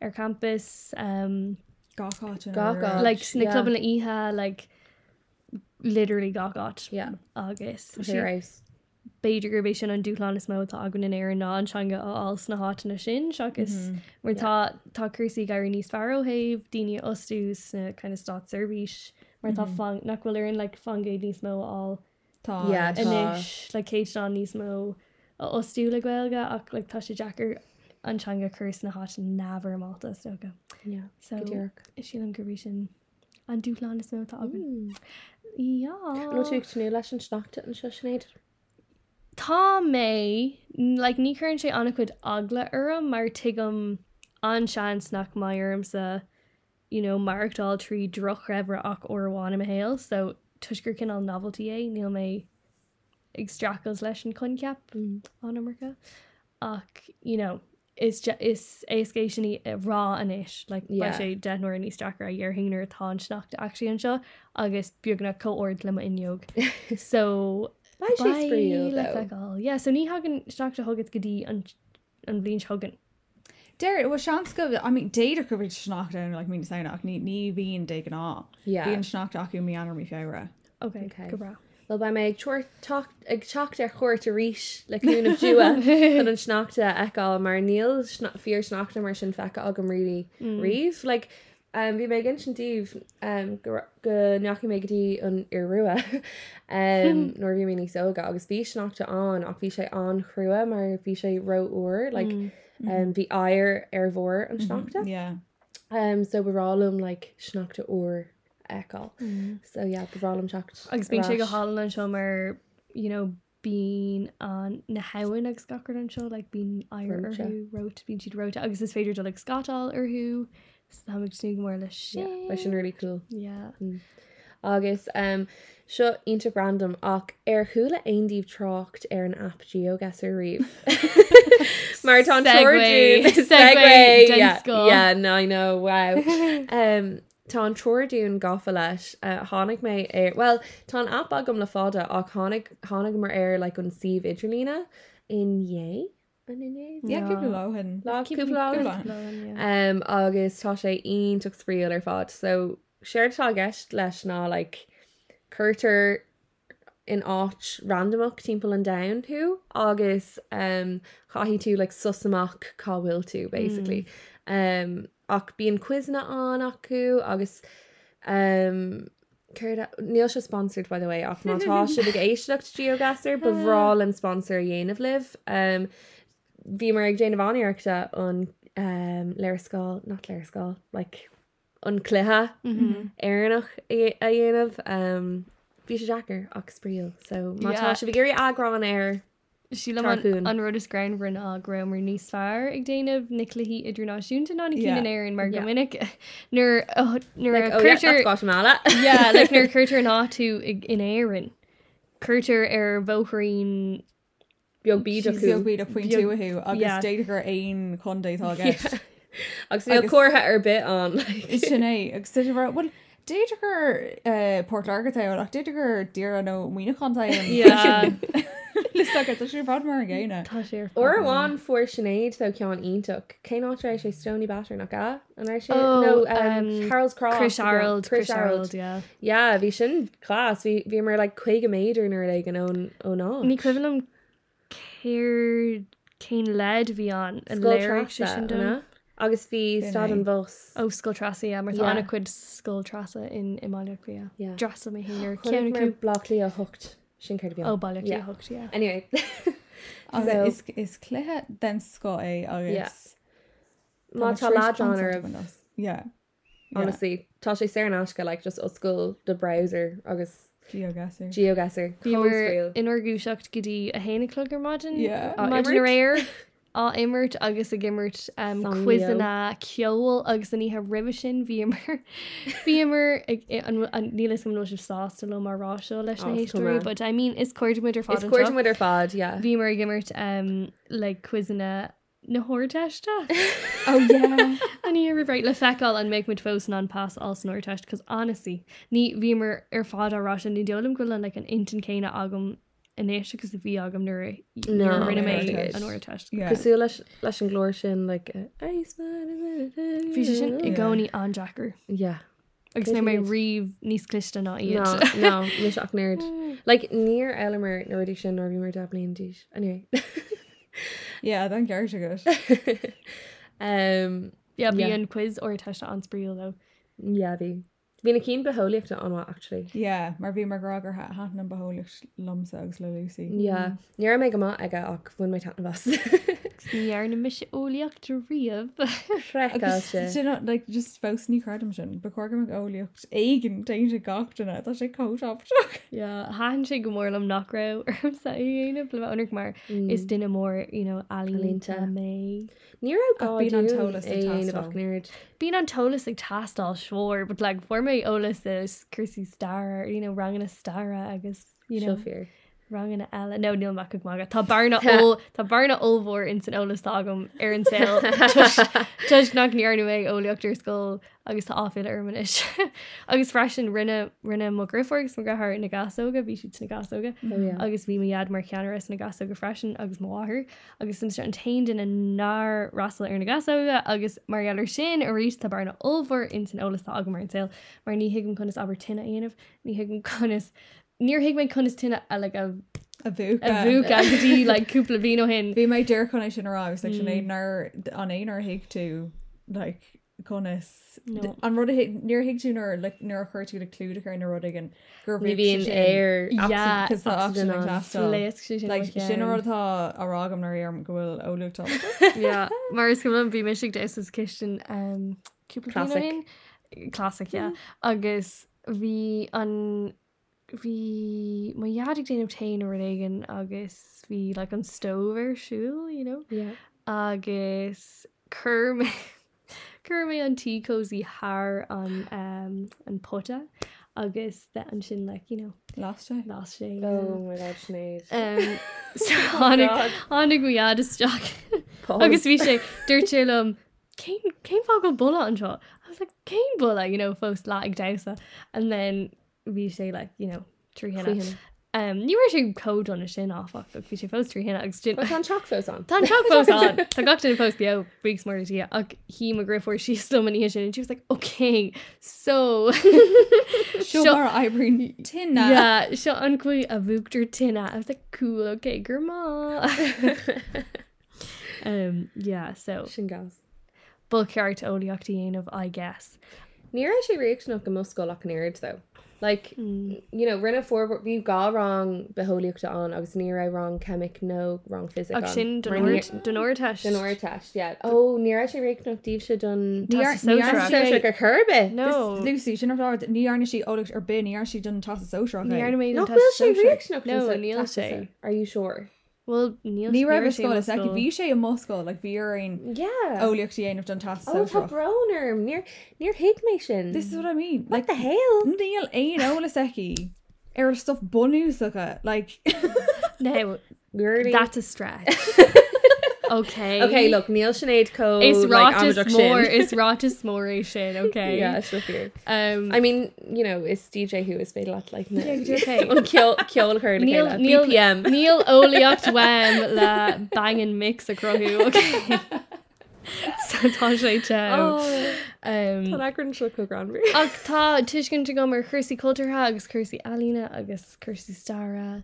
Speaker 2: ar campus um,
Speaker 4: gaá
Speaker 3: Gacha.
Speaker 2: like sna
Speaker 3: yeah.
Speaker 2: yeah. club na ihe like literally gagat
Speaker 3: Yeah.
Speaker 2: agus
Speaker 3: Okay, right.
Speaker 2: beidirgurbéis sin an dúláán is mó tá agan in éar ná antseanga áil sna hána sin segus mar tá tácursaí gaiir níos fearróhéh daine osú sna kind of stá servís mar tá fan- nachhfuil ar an like fangé níos mó á
Speaker 4: Tá
Speaker 3: Yeah,
Speaker 4: leis.
Speaker 3: tá-
Speaker 2: inis le céit an níos mó osú le ghilga ach le tá sé Jackar antseanga chus na há nabhar máta stoga.
Speaker 3: Yeah.
Speaker 2: So
Speaker 3: Good work.
Speaker 2: is sí an goéis sin an dúláán is mó tá agan.
Speaker 3: Mm. Nó tú
Speaker 2: Iá
Speaker 3: tú leis an snacht an se snéid?
Speaker 2: Tá mé le ní chuann sé anna chud agla orm mar tuigem anseans nach maim sa you know marachtáil trí droch rabre ach orháin am héil so tuisgur cin an novelty eh? é níl mé extracos leis an conceap an America ach you know is ju- is eh, écéisiní rá anis le
Speaker 3: Yeah.
Speaker 2: sé denir ní stra a dhear hinar tá snacht eaí an seo agus buagna cóord lema inneog so
Speaker 3: Bye, she's for you,
Speaker 2: le
Speaker 3: though.
Speaker 2: feáil. Yeah, so ní hagan straach a hogad gotí an an blin hogan.
Speaker 4: Déir bh sean go bh- I mean déidir go bhid snachtain le mí saoach ní ní bhíon de an á. Bhí
Speaker 3: Yeah.
Speaker 4: an snacht acu mí anar mí féire.
Speaker 2: Okay,
Speaker 3: Okay.
Speaker 2: go bra.
Speaker 3: Well by me ag tuair- tuacht- ag techt ar chuir a ríis leún of uh, dua an an snachta eáil mar níl fear snachta mar sin fecha agam ri
Speaker 2: Mm.
Speaker 3: riomh like um, bhí mé gin sintíh um, go go neachí métí an i ruúa um, nóir bhí mé ní soga agus bhí snachta an ach bhí sé an chrua mar bhí sé roúir like
Speaker 2: Mm.
Speaker 3: um, bhí air ar bhór an
Speaker 2: Mm-hmm.
Speaker 3: snachta
Speaker 4: Yeah.
Speaker 3: Um, so berálum like snachta or ekkal. Mm. So yeah, berálum chacht.
Speaker 2: Agus bín sé go hálan an seo mar you know bí an na hain agus scacar an seo, like bín air
Speaker 3: Rote.
Speaker 2: arthú rot bín siad rota agus is féidir do le scatáil arthú haid snig mór le
Speaker 3: Yeah, that's
Speaker 2: sin.
Speaker 3: really cool.
Speaker 2: Yeah.
Speaker 3: Agus um, seo inta brandom ach ar thula aondíh trocht ar an app geogas ar riomh. Mar tá
Speaker 2: Segue. Segue, done score.
Speaker 3: Yeah, no, I know, wow. um, tá an troirún gafa leis uh, tháinig mé ar well tá an app agam le fáda ach tháinig tháinig mar ar le like, an sih idirlína inhé an inhé
Speaker 4: Yeah, cúpla
Speaker 2: No.
Speaker 4: láhan.
Speaker 3: Láúpla
Speaker 4: Cúpla.
Speaker 2: Láin, yeah.
Speaker 3: um, agus tá sé on tu spríal ar fád so séirtá gist leis ná like Curter in áit randomach timppla an down tú agus um, chahí tú le like, susamach cáhfuil tú basically mm. um, ach bíon cuisna an acu agus um, Ceirde- Níl se sponsored by the way ach mátá si ag éisilecht geogasar bhrá an sponsor a dhéanamh liv um, bhí mar ag déanamh aníireachta an um, leirscáil nach leirscáil like an cluthe Mm-hmm.
Speaker 2: Mm.
Speaker 3: éannach é- a dhéanamh um, bhí sé Jackar ach spríal so
Speaker 2: Yeah.
Speaker 3: mátá se bh géirí agrán air
Speaker 2: Sí le an
Speaker 3: Tarcún.
Speaker 2: an rud is grain rin á grom mar níos fear ag déanamh niclahí idirnáisiúnta ná cí
Speaker 4: Yeah.
Speaker 2: an éan mar
Speaker 3: Yeah. oh,
Speaker 2: gomininic nuair nuair oh, a creature
Speaker 3: Guatemala
Speaker 2: yeah, like near Curter not to in Aaron. Curter er Vohreen.
Speaker 3: beag bíd
Speaker 4: Bíad
Speaker 3: acu
Speaker 4: a pointú
Speaker 2: Bheag-
Speaker 4: athú agus
Speaker 2: Yeah.
Speaker 4: déidir gur aon chundétá
Speaker 3: agus níl
Speaker 4: Agus-
Speaker 3: cuatha ar bit an like,
Speaker 4: Is sin é agus si ra bhil déidir gur uh, Port agatá ach déidir gur díar an nó muoine chutáin
Speaker 2: Yeah.
Speaker 4: Lis agus sin brad mar an ggéine.
Speaker 2: Tá sé ar
Speaker 3: Or
Speaker 2: fáil.
Speaker 3: bháin fuair sinnéad tho ceán ionach. Cé ná éis sé Stony Batter nach ga an éis sé
Speaker 2: Oh,
Speaker 3: No,
Speaker 2: um,
Speaker 3: um, Charles Cross
Speaker 2: Chris Harold Chris Harold
Speaker 3: Ja,
Speaker 2: yeah.
Speaker 3: yeah, bhí sin clás bhí bhí mar le chuig go méidir nuair ag an ón ó ná.
Speaker 2: Ní cuilumm céir céin lead bhí an an léir sin donna.
Speaker 3: agus bhí
Speaker 4: Bhí
Speaker 3: stad
Speaker 4: an
Speaker 3: an bós.
Speaker 2: ó scoil trasa a mar
Speaker 3: Yeah.
Speaker 2: anna chuid scoil trasa in imália
Speaker 3: Yeah.
Speaker 2: Drasa mé hir
Speaker 3: Ceanna
Speaker 2: ceanna
Speaker 3: blachlíí a thucht sin chuir
Speaker 2: ó
Speaker 3: bhí.
Speaker 2: bailach
Speaker 3: Yeah.
Speaker 2: hocht
Speaker 3: Anyway, So-
Speaker 4: Agus is- is cluthe den sco é agus
Speaker 3: má tá ládán ar a
Speaker 4: Yeah.
Speaker 3: honestly tá sé sé an asca le just oscail do browser agus
Speaker 4: Geogasser.
Speaker 3: geogasar
Speaker 2: Bíar inargú secht gotí a héananaclgar maidin
Speaker 4: Yeah. Á
Speaker 2: maidin
Speaker 3: imirt?
Speaker 2: réir á imirt agus a gimmert
Speaker 3: San
Speaker 2: cuisanna ceol agus an ithe rih sin bhíar bhíar nílas eh, an nóisih sástal le marrá seo leis na
Speaker 3: Oh, it's
Speaker 2: héistúí,
Speaker 3: coming.
Speaker 2: but I mean is cuairmuidir fá
Speaker 3: Is cuairm mu ar fád, yeah.
Speaker 2: Bhí mar gimmert um, le cuisanna na háirteiste
Speaker 4: Oh yeah.
Speaker 2: a ní rihreid le feáil an méid mud fós ná pass all san orteist cos anasí ní bhímar ar fád árá sin ní deolm goile le an intin céine agam inéis agus a bhí agam nuair
Speaker 3: No,
Speaker 2: rinne
Speaker 4: an
Speaker 2: mé an
Speaker 3: orteist.
Speaker 2: orteist.
Speaker 4: Yeah.
Speaker 3: Cosú leis leis an glóir sin le Iceman
Speaker 2: Bhí sé sin i
Speaker 4: Yeah.
Speaker 2: gcóí an Jackar
Speaker 3: yeah
Speaker 2: agus
Speaker 3: Good
Speaker 2: na mé
Speaker 3: news.
Speaker 2: riomh níos clista ná
Speaker 3: no
Speaker 2: iad.
Speaker 3: no mis ach nerd like near Elmer Nordic sin nor bhí mar dablin díis anyway
Speaker 4: Yeah, dan geir se go.
Speaker 3: um
Speaker 2: Yeah, bhí
Speaker 3: Yeah.
Speaker 2: an quiz orteiste an spríal le.
Speaker 3: yeah bhí bhí na cín beholíocht anha actually
Speaker 4: Yeah, mar bhí mar gragur ha hatan an beholich lomsa agus le Lucy.
Speaker 3: yeah
Speaker 2: Mhm.
Speaker 3: níar mé go má aige ach bhfuin mé tan bhas
Speaker 2: Níar na mis óíocht a riamh
Speaker 3: Freáilte
Speaker 4: sin like just fós ní cardam sin, be chuir go ólíocht éigen dé sé gachtainna tá sé cóáach.
Speaker 2: háan sé go mórlam nach ra arm sa dhéanamh le anach mar is duine mór
Speaker 3: Ailínta.
Speaker 2: alínta mé.
Speaker 3: Ní
Speaker 4: Ach, bíonn an tolas ag tastal.
Speaker 3: nerd
Speaker 2: Bín an tolas ag tastal seoir, but le like, formé olalas iscursí star you know, rangan na starra agus you know,
Speaker 3: fear
Speaker 2: rangan na eile nó níl mac maga Tá barna ó Tá barna óhór in san olalas agam ar an saoil
Speaker 3: Oh,
Speaker 2: tuis nach níarna méid óleochttar scóil agus tá áfid armanis agus freisin rinne rinne mo griforgus mo gathir na gasóga bhí si na gasóga
Speaker 4: Mm.
Speaker 2: agus bhí méiad mar ceanras na gasó go freisin agus máthir agus sin se an tain in ná rasal ar na gasóga agus mar gaiir sin a rís tá barna óhar in san olalas tá agam mar an saoil mar ní higann conas aber tinna aanamh ní higann conas Níor hiic mé conas tinna eile a
Speaker 4: A bhú
Speaker 2: a bhúca gotí leúpla bhí ó hin
Speaker 4: Bhí mé deir chuna sin ará ag sin éonar an éonar hiic tú like conas
Speaker 2: No.
Speaker 4: an rud níor hiic túnar le nuair chuirtú le clúda ar na rudig an gur
Speaker 3: ní bhíon air
Speaker 2: Yeah,
Speaker 4: cos tá
Speaker 3: oxygen
Speaker 4: oxygen
Speaker 3: on.
Speaker 4: ag
Speaker 2: Léas sé sin
Speaker 4: Like,
Speaker 2: mar ceann.
Speaker 4: sin ortá a ragam na ar gohfuil óúta
Speaker 2: yeah mar is gom bhí meisiigh de is cin um
Speaker 3: Classic.
Speaker 2: cúpla classic
Speaker 3: Mm.
Speaker 2: yeah agus bhí an hí maiadig déanam tain or aigen agus bhí le an stover siúil you know
Speaker 3: Yeah.
Speaker 2: agus chum chum mé an tí cosí haar an um an pota agus de an sin le you know
Speaker 4: lásta
Speaker 2: lá sé
Speaker 3: Oh my god, Sinead.
Speaker 2: um so
Speaker 3: God.
Speaker 2: hánig hánig go iad is Jack
Speaker 3: Pause.
Speaker 2: agus bhí sé dúirtilm céim fá go bula anseo agus le céim bula you know fós lá ag dasa an then bhí sé le you know trí
Speaker 3: Faoi
Speaker 2: hinna
Speaker 3: hena.
Speaker 2: um níir sé cód an na sin áfach bhí sé fós trí hinna agus sin
Speaker 3: Well, Tá an chocfos an.
Speaker 2: Tá tro fós an Tá gatain fós beo brig mar tí ach hí a griffir sí stomaní sin and she was like okay so
Speaker 4: Seo
Speaker 2: Seo-
Speaker 4: mar ebrin tin
Speaker 2: yeah seo an chuí a bhúgtar tinna a the cool okay gur má um yeah so
Speaker 3: Sin gas.
Speaker 2: bul ceart óíochttaí aanamh I guess.
Speaker 3: Níor é sé réach nach go muscail ach nerd though. Like,
Speaker 2: Hmm.
Speaker 3: you know, rinne forward bhí gá rang beholíochtta an agus ní ra wrong chemic nó wrong physics
Speaker 2: Ag sin
Speaker 3: Mar ní- Den
Speaker 2: donir
Speaker 3: oir test, yeah. Oh, níor é sé réach nach díobh se don...
Speaker 4: Níor-
Speaker 2: Tá sa
Speaker 4: níor
Speaker 2: sósra.
Speaker 3: Tá sé
Speaker 4: sé-
Speaker 3: sé go churbe.
Speaker 2: No
Speaker 4: Lucy sin ar níarna sí ólacht ar bin ar si don tas sóra
Speaker 3: No, bhfuil sé réach nach
Speaker 2: No, níl sé.
Speaker 3: Are you sure?
Speaker 2: Well níl
Speaker 4: Ní
Speaker 2: níl
Speaker 4: ra
Speaker 2: sé
Speaker 4: sco
Speaker 2: mo
Speaker 4: is ag
Speaker 2: scoil.
Speaker 4: bhí sé i Moscó le bhí aon
Speaker 3: Yeah.
Speaker 4: ólaocht dhéanamh don tas
Speaker 3: Oh, tá
Speaker 4: sóra.
Speaker 3: broner. Níor níor hiic mé sin.
Speaker 4: This is what I mean.
Speaker 3: What
Speaker 4: Like
Speaker 3: the hell?
Speaker 4: níl aon ólas eici ar Er stuff bonú sucha like
Speaker 2: No
Speaker 3: Gertie.
Speaker 2: that's a stretch. Okay.
Speaker 3: Okay, look, Neil Sinead Co.
Speaker 2: Is
Speaker 3: like,
Speaker 2: rot is
Speaker 3: Amadeus
Speaker 2: more.
Speaker 3: Shin.
Speaker 2: Is rot is more a shit. Okay.
Speaker 3: yeah, it's just weird.
Speaker 2: Um.
Speaker 3: I mean, you know, it's DJ who is made a lot like that.
Speaker 2: okay.
Speaker 3: On kill, kill her, Neil,
Speaker 2: Neil Neil
Speaker 3: BPM.
Speaker 2: Neil Oliocht Wem la banging mix a crohu. Okay. Santá sé te.
Speaker 3: Oh,
Speaker 2: Um.
Speaker 3: Tanakran Shoko Granby.
Speaker 2: Ach tá tuiscin te go mar chusaí cultúrtha agus chusaí alína agus chusaí stara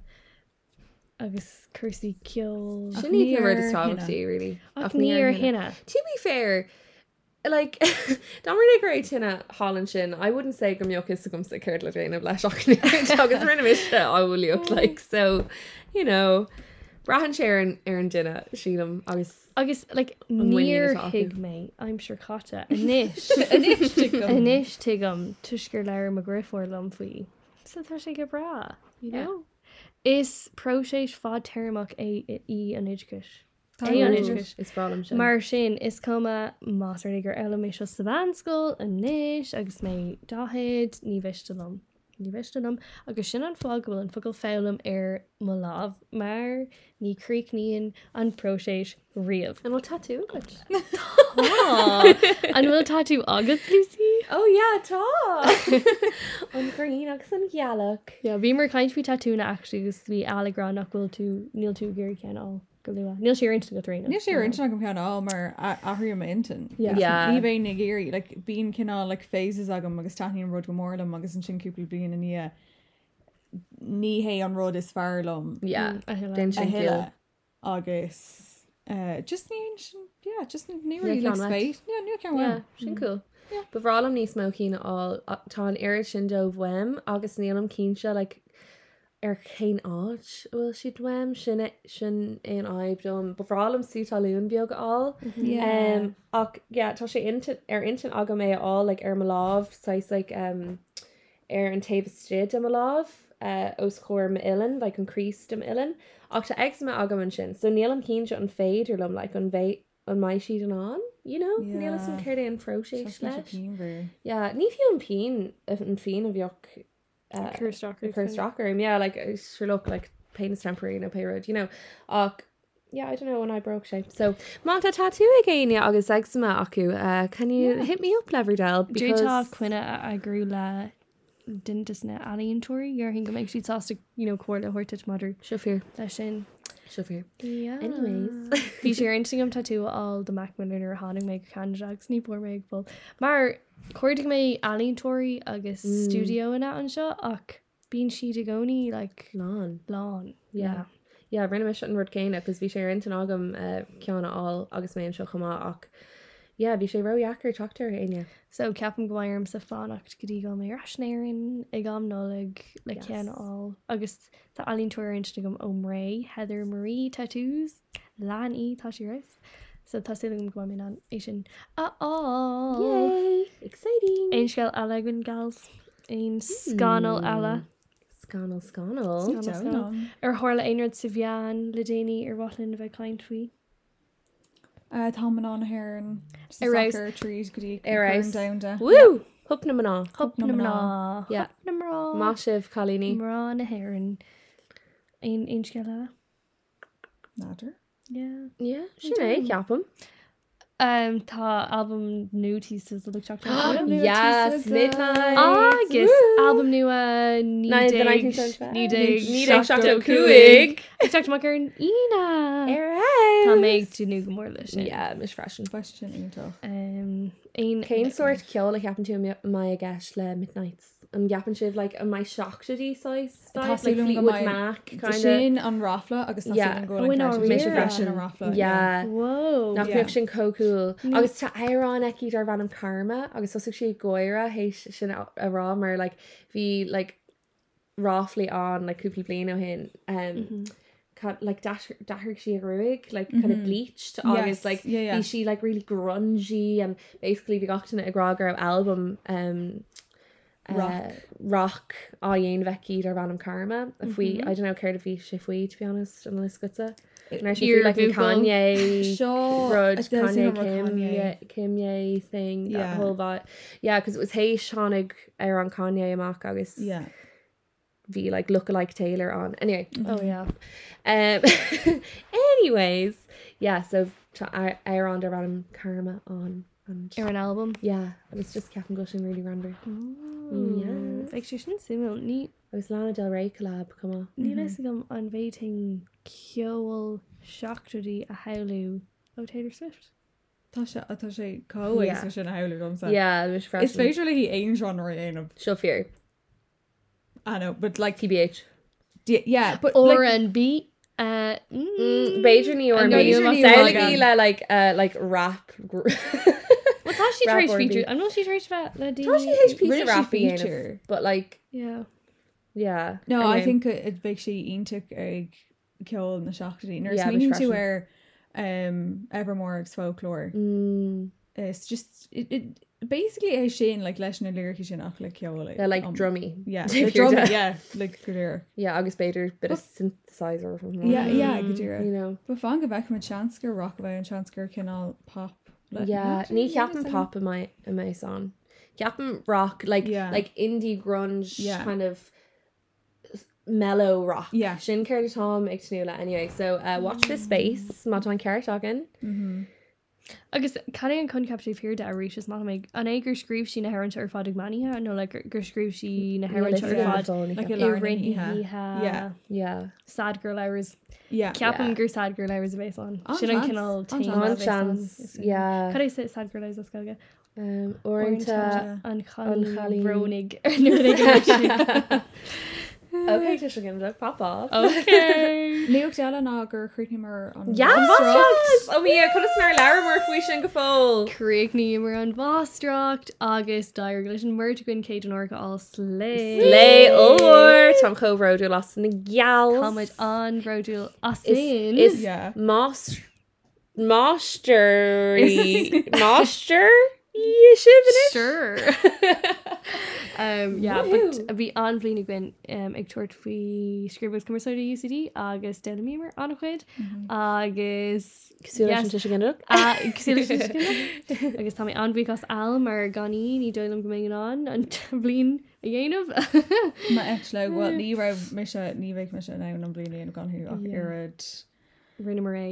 Speaker 2: agus chusaí ceol
Speaker 3: Shouldn't even word
Speaker 4: near
Speaker 3: is talking
Speaker 4: Hannah.
Speaker 3: to you, really.
Speaker 2: ach níor hena.
Speaker 3: To be fair, like, Dominic Gray Tina Holland Shin, I wouldn't say Gumyok is to come to Kurt Levine of Lash Ockney. Because we're in a mission that I will look like. So, you know, Brahan Sharon, Erin Dinna, Sheelam, I was.
Speaker 2: agus like
Speaker 3: bhfuil níor
Speaker 2: níor
Speaker 3: atá acu.
Speaker 2: hiig mé I'm sure chatta inis
Speaker 4: An
Speaker 2: inis tuigem tuisgur leir a griffór lom faoi sa tá sé go bra you
Speaker 3: Yeah.
Speaker 2: know is proséis fád teach é i- í an idirgus é an idirgus
Speaker 3: It's Brahan Shin.
Speaker 2: Mar sin is cuma másar gur eimi se savánscoil a níis agus mé dahéid ní bhistelam. Ní bhistelam agus sin an fág bhfuil an focail fém ar má láh mar nírí níon an proséis riamh.
Speaker 3: And we'll tattoo it.
Speaker 2: Ah. an bhfuil taú agat Lucy?
Speaker 3: Oh, yeah, ta. On green, agus an yallock.
Speaker 2: Ja bhí mar caiint fi taúna eú gus bhí alerán nach bhfuil tú níl tú gurí cean á go luúa. Níl sé inta go trína.
Speaker 4: Ní sé inna go pean á mar athir ma intan.
Speaker 2: Yeah.
Speaker 3: Yeah.
Speaker 4: Ní bé na géirí le bíon cinná le phases agam agus taíon rud go mórlam agus an sinúpla blion in í ní hé an rud is fearlumm
Speaker 3: Yeah.
Speaker 2: Ní
Speaker 3: Then
Speaker 4: a
Speaker 3: Shin Gill.
Speaker 4: heile agus uh, just ní sin yeah, just ní
Speaker 3: Ní ceann leat.
Speaker 4: spéit nu
Speaker 3: Yeah,
Speaker 4: cean
Speaker 3: sin cool. Ba bhrálam níos mó cín á a- tá an air sin do bhfuim agus nílam cín se le ar chéin áit bhfuil si dweim sinna sin in E, aib dom bhrálam si talún beag á Um, ach yeah, tá sé intin- ar intin aga mé á le ar maláh sais like, um, ar an taobhstead am maláh uh, os chóir ma ilan bheit an críist am ilan ach tá eag me agam an sin so níl an cín se an féidir lom le like, an bhéh an mai siad an an you know níl
Speaker 4: Yeah.
Speaker 3: an céir é an froéis leis
Speaker 4: Chin
Speaker 3: yeah ní fi an pein an fin of yoch uh, cursed rocker and yeah like it sure look like pain is temporary no pay road you know och yeah I don't know when I broke shape so Monta tattoo again yeah August eczema aku uh can you yeah. hit me up Leverdale
Speaker 2: Dútá chuine agrú le dintasna aíontóirí ar hin go méid sításta cuair le thuirte madú
Speaker 3: Shafir
Speaker 2: lei sin.
Speaker 3: Shafir
Speaker 2: Anyways.
Speaker 3: anyways
Speaker 2: Bhí sé intingam taú all de Macmanú ar hánig méid canjaachs ní por méid bol. Mar chuirdig mé aíontóirí agus
Speaker 3: Mm.
Speaker 2: studio inna an seo ach bíon siad a gcóí le
Speaker 3: non
Speaker 2: lán.
Speaker 3: Yeah. yeah rinne me shutting word cane because vi share into agam uh Kiana all August May and Shokama och yeah vi share row yaker talk to her ain't ya
Speaker 2: So ceapan gohairm sa fánacht go dtí go mé rasnéirn i gam nóleg le
Speaker 3: Yes.
Speaker 2: ceanáil agus tá alíntóirint na gom óm ré heather Marie tatús lán í tá si ris so tá si gom gomin an é sin á
Speaker 3: yay exciting
Speaker 2: Éonsceil elegin gals ein scanal eile
Speaker 3: scanal scanal
Speaker 2: Scanal. ar hála aonrad sa bhean le déine ar bhlinn bheith caiint faoi.
Speaker 4: Tá man Uh, an hairan
Speaker 2: Erase.
Speaker 4: trí gotí
Speaker 3: Erase.
Speaker 4: da
Speaker 3: woo hook na mana
Speaker 2: Hop na
Speaker 4: na
Speaker 2: mná
Speaker 3: Yeah.
Speaker 2: na mrá
Speaker 3: Mashiv Colini
Speaker 2: mrá na hairan ein éonsceil eile.
Speaker 4: Nadir
Speaker 2: Yeah.
Speaker 3: Yeah, eh, Sinead Capam.
Speaker 2: Um, tá album nu teases le teach
Speaker 3: Yes, Midnight.
Speaker 2: agus
Speaker 3: Woo.
Speaker 2: album uh, nu a
Speaker 3: Nine- the 1975. Nídeag Seachadó Cúig.
Speaker 2: teach mac ar an ina Tá
Speaker 3: Alright.
Speaker 2: méid tú nu go mór leis
Speaker 3: Yeah, Miss Freshen.
Speaker 4: question ítach.
Speaker 2: Cain
Speaker 3: Cain sort ceol ag gapan tú mai a gais le Midnights. An gapan siad, like, an mai shock to these size styles, like
Speaker 4: Tású go
Speaker 3: Fleetwood
Speaker 4: mai-
Speaker 3: Mac, kind of.
Speaker 4: sin an rafla agus
Speaker 3: Yeah.
Speaker 2: Oh, in our
Speaker 4: mission
Speaker 2: rear.
Speaker 4: rafla
Speaker 3: Yeah.
Speaker 2: Whoa
Speaker 3: nach
Speaker 4: Yeah.
Speaker 3: yeah. sin cocúil agus tá érán eici ar bhanam karma agus thosa sé goire hééis sin a a rá mar like hí like ráfli an like cúpla blian ó hin
Speaker 4: Mm-hmm.
Speaker 3: um ca- like dahar si a ruig like kind of
Speaker 4: Mhm.
Speaker 3: bleached
Speaker 4: Yes,
Speaker 3: agus like
Speaker 4: yeah, yeah.
Speaker 3: bhí si like really grungy and basically bhí gachtain a gragra album um uh,
Speaker 4: Rock.
Speaker 3: rock á dhéon bheicíd ar bhanam karma a fhí
Speaker 4: Mm-hmm.
Speaker 3: I don't know céir a bhí si faoi to be honest an liscuta
Speaker 4: E,
Speaker 3: Nar si
Speaker 2: Ear
Speaker 3: like an
Speaker 2: Google.
Speaker 3: Kanye Grudge,
Speaker 4: Seo
Speaker 3: Kanye, Kanye, Kimye thing, yeah.
Speaker 4: Yeah.
Speaker 3: that whole lot. Yeah, because it was hey Seanig ar an Kanye amach agus yeah.
Speaker 4: yeah
Speaker 3: bhí Mm-hmm. like lookalike Taylor on. Anyway,
Speaker 2: Oh yeah
Speaker 3: um, anyways, yeah, so tá a- air an de random karma on and
Speaker 2: ar an albumm.
Speaker 3: yeah, I was just Captain Gushing really random.
Speaker 2: Ooh, Ag sé sin si ní
Speaker 3: I was Lana Del Rey collab come on.
Speaker 2: ní leis gom an bhéting ceol seachtraí a heú ó Taylor Swift.
Speaker 4: Tá sé atá sé cóéis
Speaker 3: Yeah.
Speaker 4: sin heú gom sa.
Speaker 3: Yeah, it was fresh.
Speaker 4: Is féidir le hí aon genre aanamh
Speaker 3: She'll fear
Speaker 4: anó, but like
Speaker 3: TBH.
Speaker 4: d- yeah, but
Speaker 2: Or
Speaker 4: like,
Speaker 2: an bí
Speaker 3: mm.
Speaker 2: Tá
Speaker 3: Beiger New York.
Speaker 2: And Beidir Ní
Speaker 3: Beidir New York.
Speaker 2: Orm
Speaker 3: Sounds
Speaker 4: again.
Speaker 3: like like uh like rap. gr-
Speaker 2: si
Speaker 3: Rap
Speaker 2: éis
Speaker 3: or
Speaker 2: feature
Speaker 3: beat.
Speaker 2: an si éis le dí
Speaker 3: Tá sí éis
Speaker 4: Really
Speaker 3: piece of
Speaker 4: she
Speaker 3: rap
Speaker 4: feature.
Speaker 3: feature, but like
Speaker 2: Yeah.
Speaker 3: yeah.
Speaker 4: No,
Speaker 3: anyway.
Speaker 4: I think it big sé intuk ag ceol na seachtaí. Nurs
Speaker 3: Yeah, it was
Speaker 4: meaning to
Speaker 3: freshen.
Speaker 4: wear um evermore ex folklore.
Speaker 3: Mm,
Speaker 4: It's just it, it basically é sin like leis na lyrici sin ach le ceol.
Speaker 3: they're like drummy.
Speaker 4: Um, Yeah,
Speaker 3: If
Speaker 4: the
Speaker 3: you're
Speaker 4: drum,
Speaker 3: deaf.
Speaker 4: yeah, like good lyric.
Speaker 3: Yeah, August Bader, bit of synthesizer or something.
Speaker 4: Yeah, yeah, good
Speaker 3: You
Speaker 4: lyric.
Speaker 3: know.
Speaker 4: But fan go back from a chansker rock away and chansker can all pop. Like,
Speaker 3: Yeah,
Speaker 4: no,
Speaker 3: ní ceapan pop in my in my song. Ceapan rock like
Speaker 4: Yeah.
Speaker 3: like indie grunge
Speaker 4: Yeah.
Speaker 3: kind of mellow rock.
Speaker 4: Yeah. Mm.
Speaker 3: Sin Ker Tom Ictanula anyway. So uh watch this space, Mont on Ker talking.
Speaker 4: Mhm.
Speaker 2: agus cad an chun captí fear de aéis is má méid an é gur scríb sin na heint ar fád maníthe nó le gur scríb si na heint
Speaker 4: yeah.
Speaker 2: ar fád
Speaker 4: Like
Speaker 3: Yeah.
Speaker 4: a- Lár na híthe.
Speaker 2: riníthe
Speaker 4: Yeah.
Speaker 3: Yeah.
Speaker 2: sad gur leirs
Speaker 4: Yeah.
Speaker 2: ceapan gur sad gur leirs a bhééis an
Speaker 4: An
Speaker 2: sin an
Speaker 4: chance,
Speaker 2: cinál
Speaker 4: an chance.
Speaker 3: On
Speaker 4: Lár
Speaker 3: chance. Yeah.
Speaker 2: Cad é sé sad gur leirs a scoge
Speaker 3: Um
Speaker 4: Orintha.
Speaker 3: Orinta.
Speaker 2: an
Speaker 3: An
Speaker 2: chalí
Speaker 3: Chailín.
Speaker 2: ronig ar nu
Speaker 3: Okay, just again look pop off.
Speaker 2: Okay.
Speaker 4: Leoch Della na gur chuimar an
Speaker 3: Yeah,
Speaker 4: Ross Rock.
Speaker 3: Montrose. Oh yeah, could have snarled Larimore if we shouldn't go full.
Speaker 2: Creaicní mar an bvástracht agus dair leis an muir gin céid an orca á slé
Speaker 3: Lay or Tom Cove Road who lost in the gals.
Speaker 2: Táid an roiúil as
Speaker 3: is is
Speaker 4: Yeah.
Speaker 3: Moss Moster Moster you should
Speaker 2: sure um yeah
Speaker 3: Woohoo.
Speaker 2: but a bhí anlín i gin um ag tuairt faoi scríbas cumarsáid a UCD agus denimí mar annachhuiid agus Yes. Uh, cosúla sin scinne. agus tá mé anbhíchas alm ar ganí ní doilm go mé an an blin a dhéanamh
Speaker 4: Ma et le wat ní ra me se ní veik me se na an blion gan hu ach
Speaker 2: Yeah.
Speaker 4: irid
Speaker 2: rinne mar é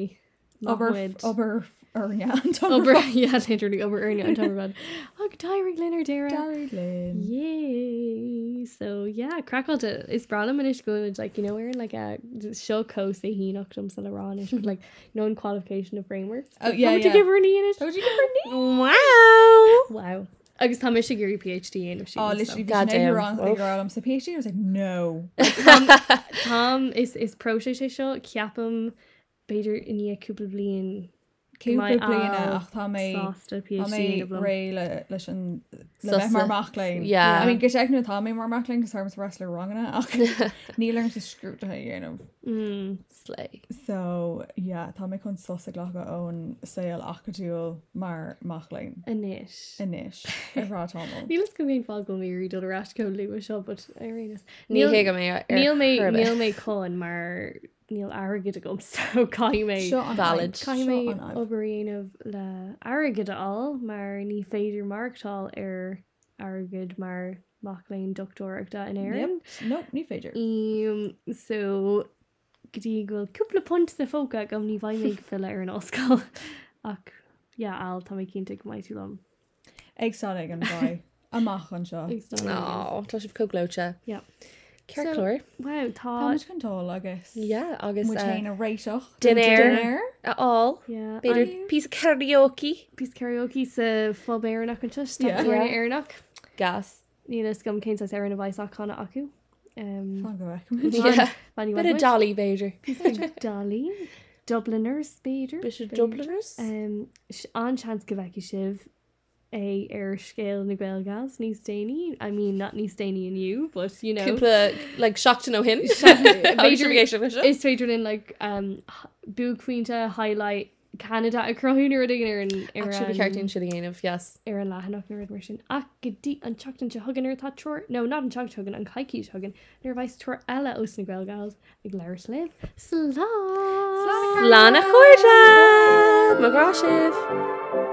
Speaker 4: ober ober arnia
Speaker 2: Ober idirú ober airne an tamrad ag dair glinnar deire
Speaker 4: Darlin.
Speaker 2: Yay so yeah crackle is brala man is good like you know we're in like a show coast a he knocked him so around is like known qualification of framework
Speaker 4: Oh yeah,
Speaker 2: to give
Speaker 4: yeah.
Speaker 2: her an E in
Speaker 4: Oh,
Speaker 2: it
Speaker 4: did you give her knee?
Speaker 3: Wow
Speaker 2: wow agus tá me gurí PhD in if she
Speaker 4: Oh,
Speaker 2: was, so.
Speaker 4: literally,
Speaker 3: God
Speaker 4: God damn.
Speaker 3: damn.
Speaker 4: Wrong,
Speaker 3: Oof.
Speaker 4: like, girl, I'm so PhD. I was like, no.
Speaker 2: Tom is is pro sé sé seo ceapam beidir iníúpla blion
Speaker 4: Cúpla
Speaker 2: Mai
Speaker 4: bliana,
Speaker 2: al,
Speaker 4: ach, tá mé,
Speaker 2: sásta
Speaker 4: tá mé
Speaker 2: PhD
Speaker 4: ré le, leis an, le
Speaker 3: Sussa.
Speaker 4: meh mar machlain.
Speaker 3: Yeah.
Speaker 4: I mean, gysig nhw tá mé mar machlain, because I'm a wrestler wrong yna, ach, ní learn to screw to hei, you know.
Speaker 2: Mm.
Speaker 3: slay
Speaker 4: So, yeah, tá mé con sos a gloch o'n sail acadúl mar machlain.
Speaker 2: inis.
Speaker 4: Inish. Rá tomol.
Speaker 2: Nílas go mbeon fáil go méí do arás go le seo but arénas.
Speaker 3: ní hé go mé
Speaker 2: Níl mé níl mé con mar níl agad a gom so cai mé
Speaker 4: Seo an
Speaker 3: Valid.
Speaker 4: aib,
Speaker 2: Cai
Speaker 4: seo
Speaker 2: mé
Speaker 4: an aib.
Speaker 2: obíanamh le agad á mar ní féidir marktá ar agad mar machlainn doctorachta in éan.
Speaker 4: Yep. Nope, ní féidir.
Speaker 2: Um, so gotí ghfuil cúpla pont na fóca gom ní bhaimé fill ar an oscail ach al tá mé cinnta go mai tú lom.
Speaker 4: Ag sáleg an bai. Amach an seo.
Speaker 3: tá sib coglocha
Speaker 2: Yeah. So-
Speaker 3: Ceirlóir
Speaker 2: Wow,
Speaker 4: Tá
Speaker 2: tá
Speaker 4: much control, agus.
Speaker 3: yeah agus
Speaker 4: Mu
Speaker 3: uh,
Speaker 4: chain a oh. réisioch.
Speaker 3: Dinner.
Speaker 4: Dinner.
Speaker 3: at all
Speaker 2: Yeah,
Speaker 3: beidir
Speaker 2: I-
Speaker 3: pí karaoke
Speaker 2: pís karaoke sa fob éarnach an tuis
Speaker 4: Yeah.
Speaker 2: tána
Speaker 3: Yeah.
Speaker 2: éarnach
Speaker 3: gas
Speaker 2: Nílas gom céint ar an bhaach chuna acu
Speaker 4: Fá go bhaic.
Speaker 3: Yeah. bit of dolly beidir
Speaker 2: Dalí Dubliner spéidir
Speaker 3: bis Dubliners
Speaker 2: Um, s- anchans go bheici sibh é ar scéil na ghilgas níos déine I mean not níos déine in you but you know
Speaker 3: cúpla like shocked to know him
Speaker 2: Beidir- is féidir in like um, buúointe highlight Canada a croúnar a digan ar an
Speaker 3: actually cartoon should the game of yes
Speaker 2: ar an lehanach na rid mar sin ach go dtí an teachtain se thugan ar tá troir nó ná an teach tugan an caiici thugan nar bhais tuair eile os na ghilgas ag leir slib Slá
Speaker 3: Lana Corda McGrashif.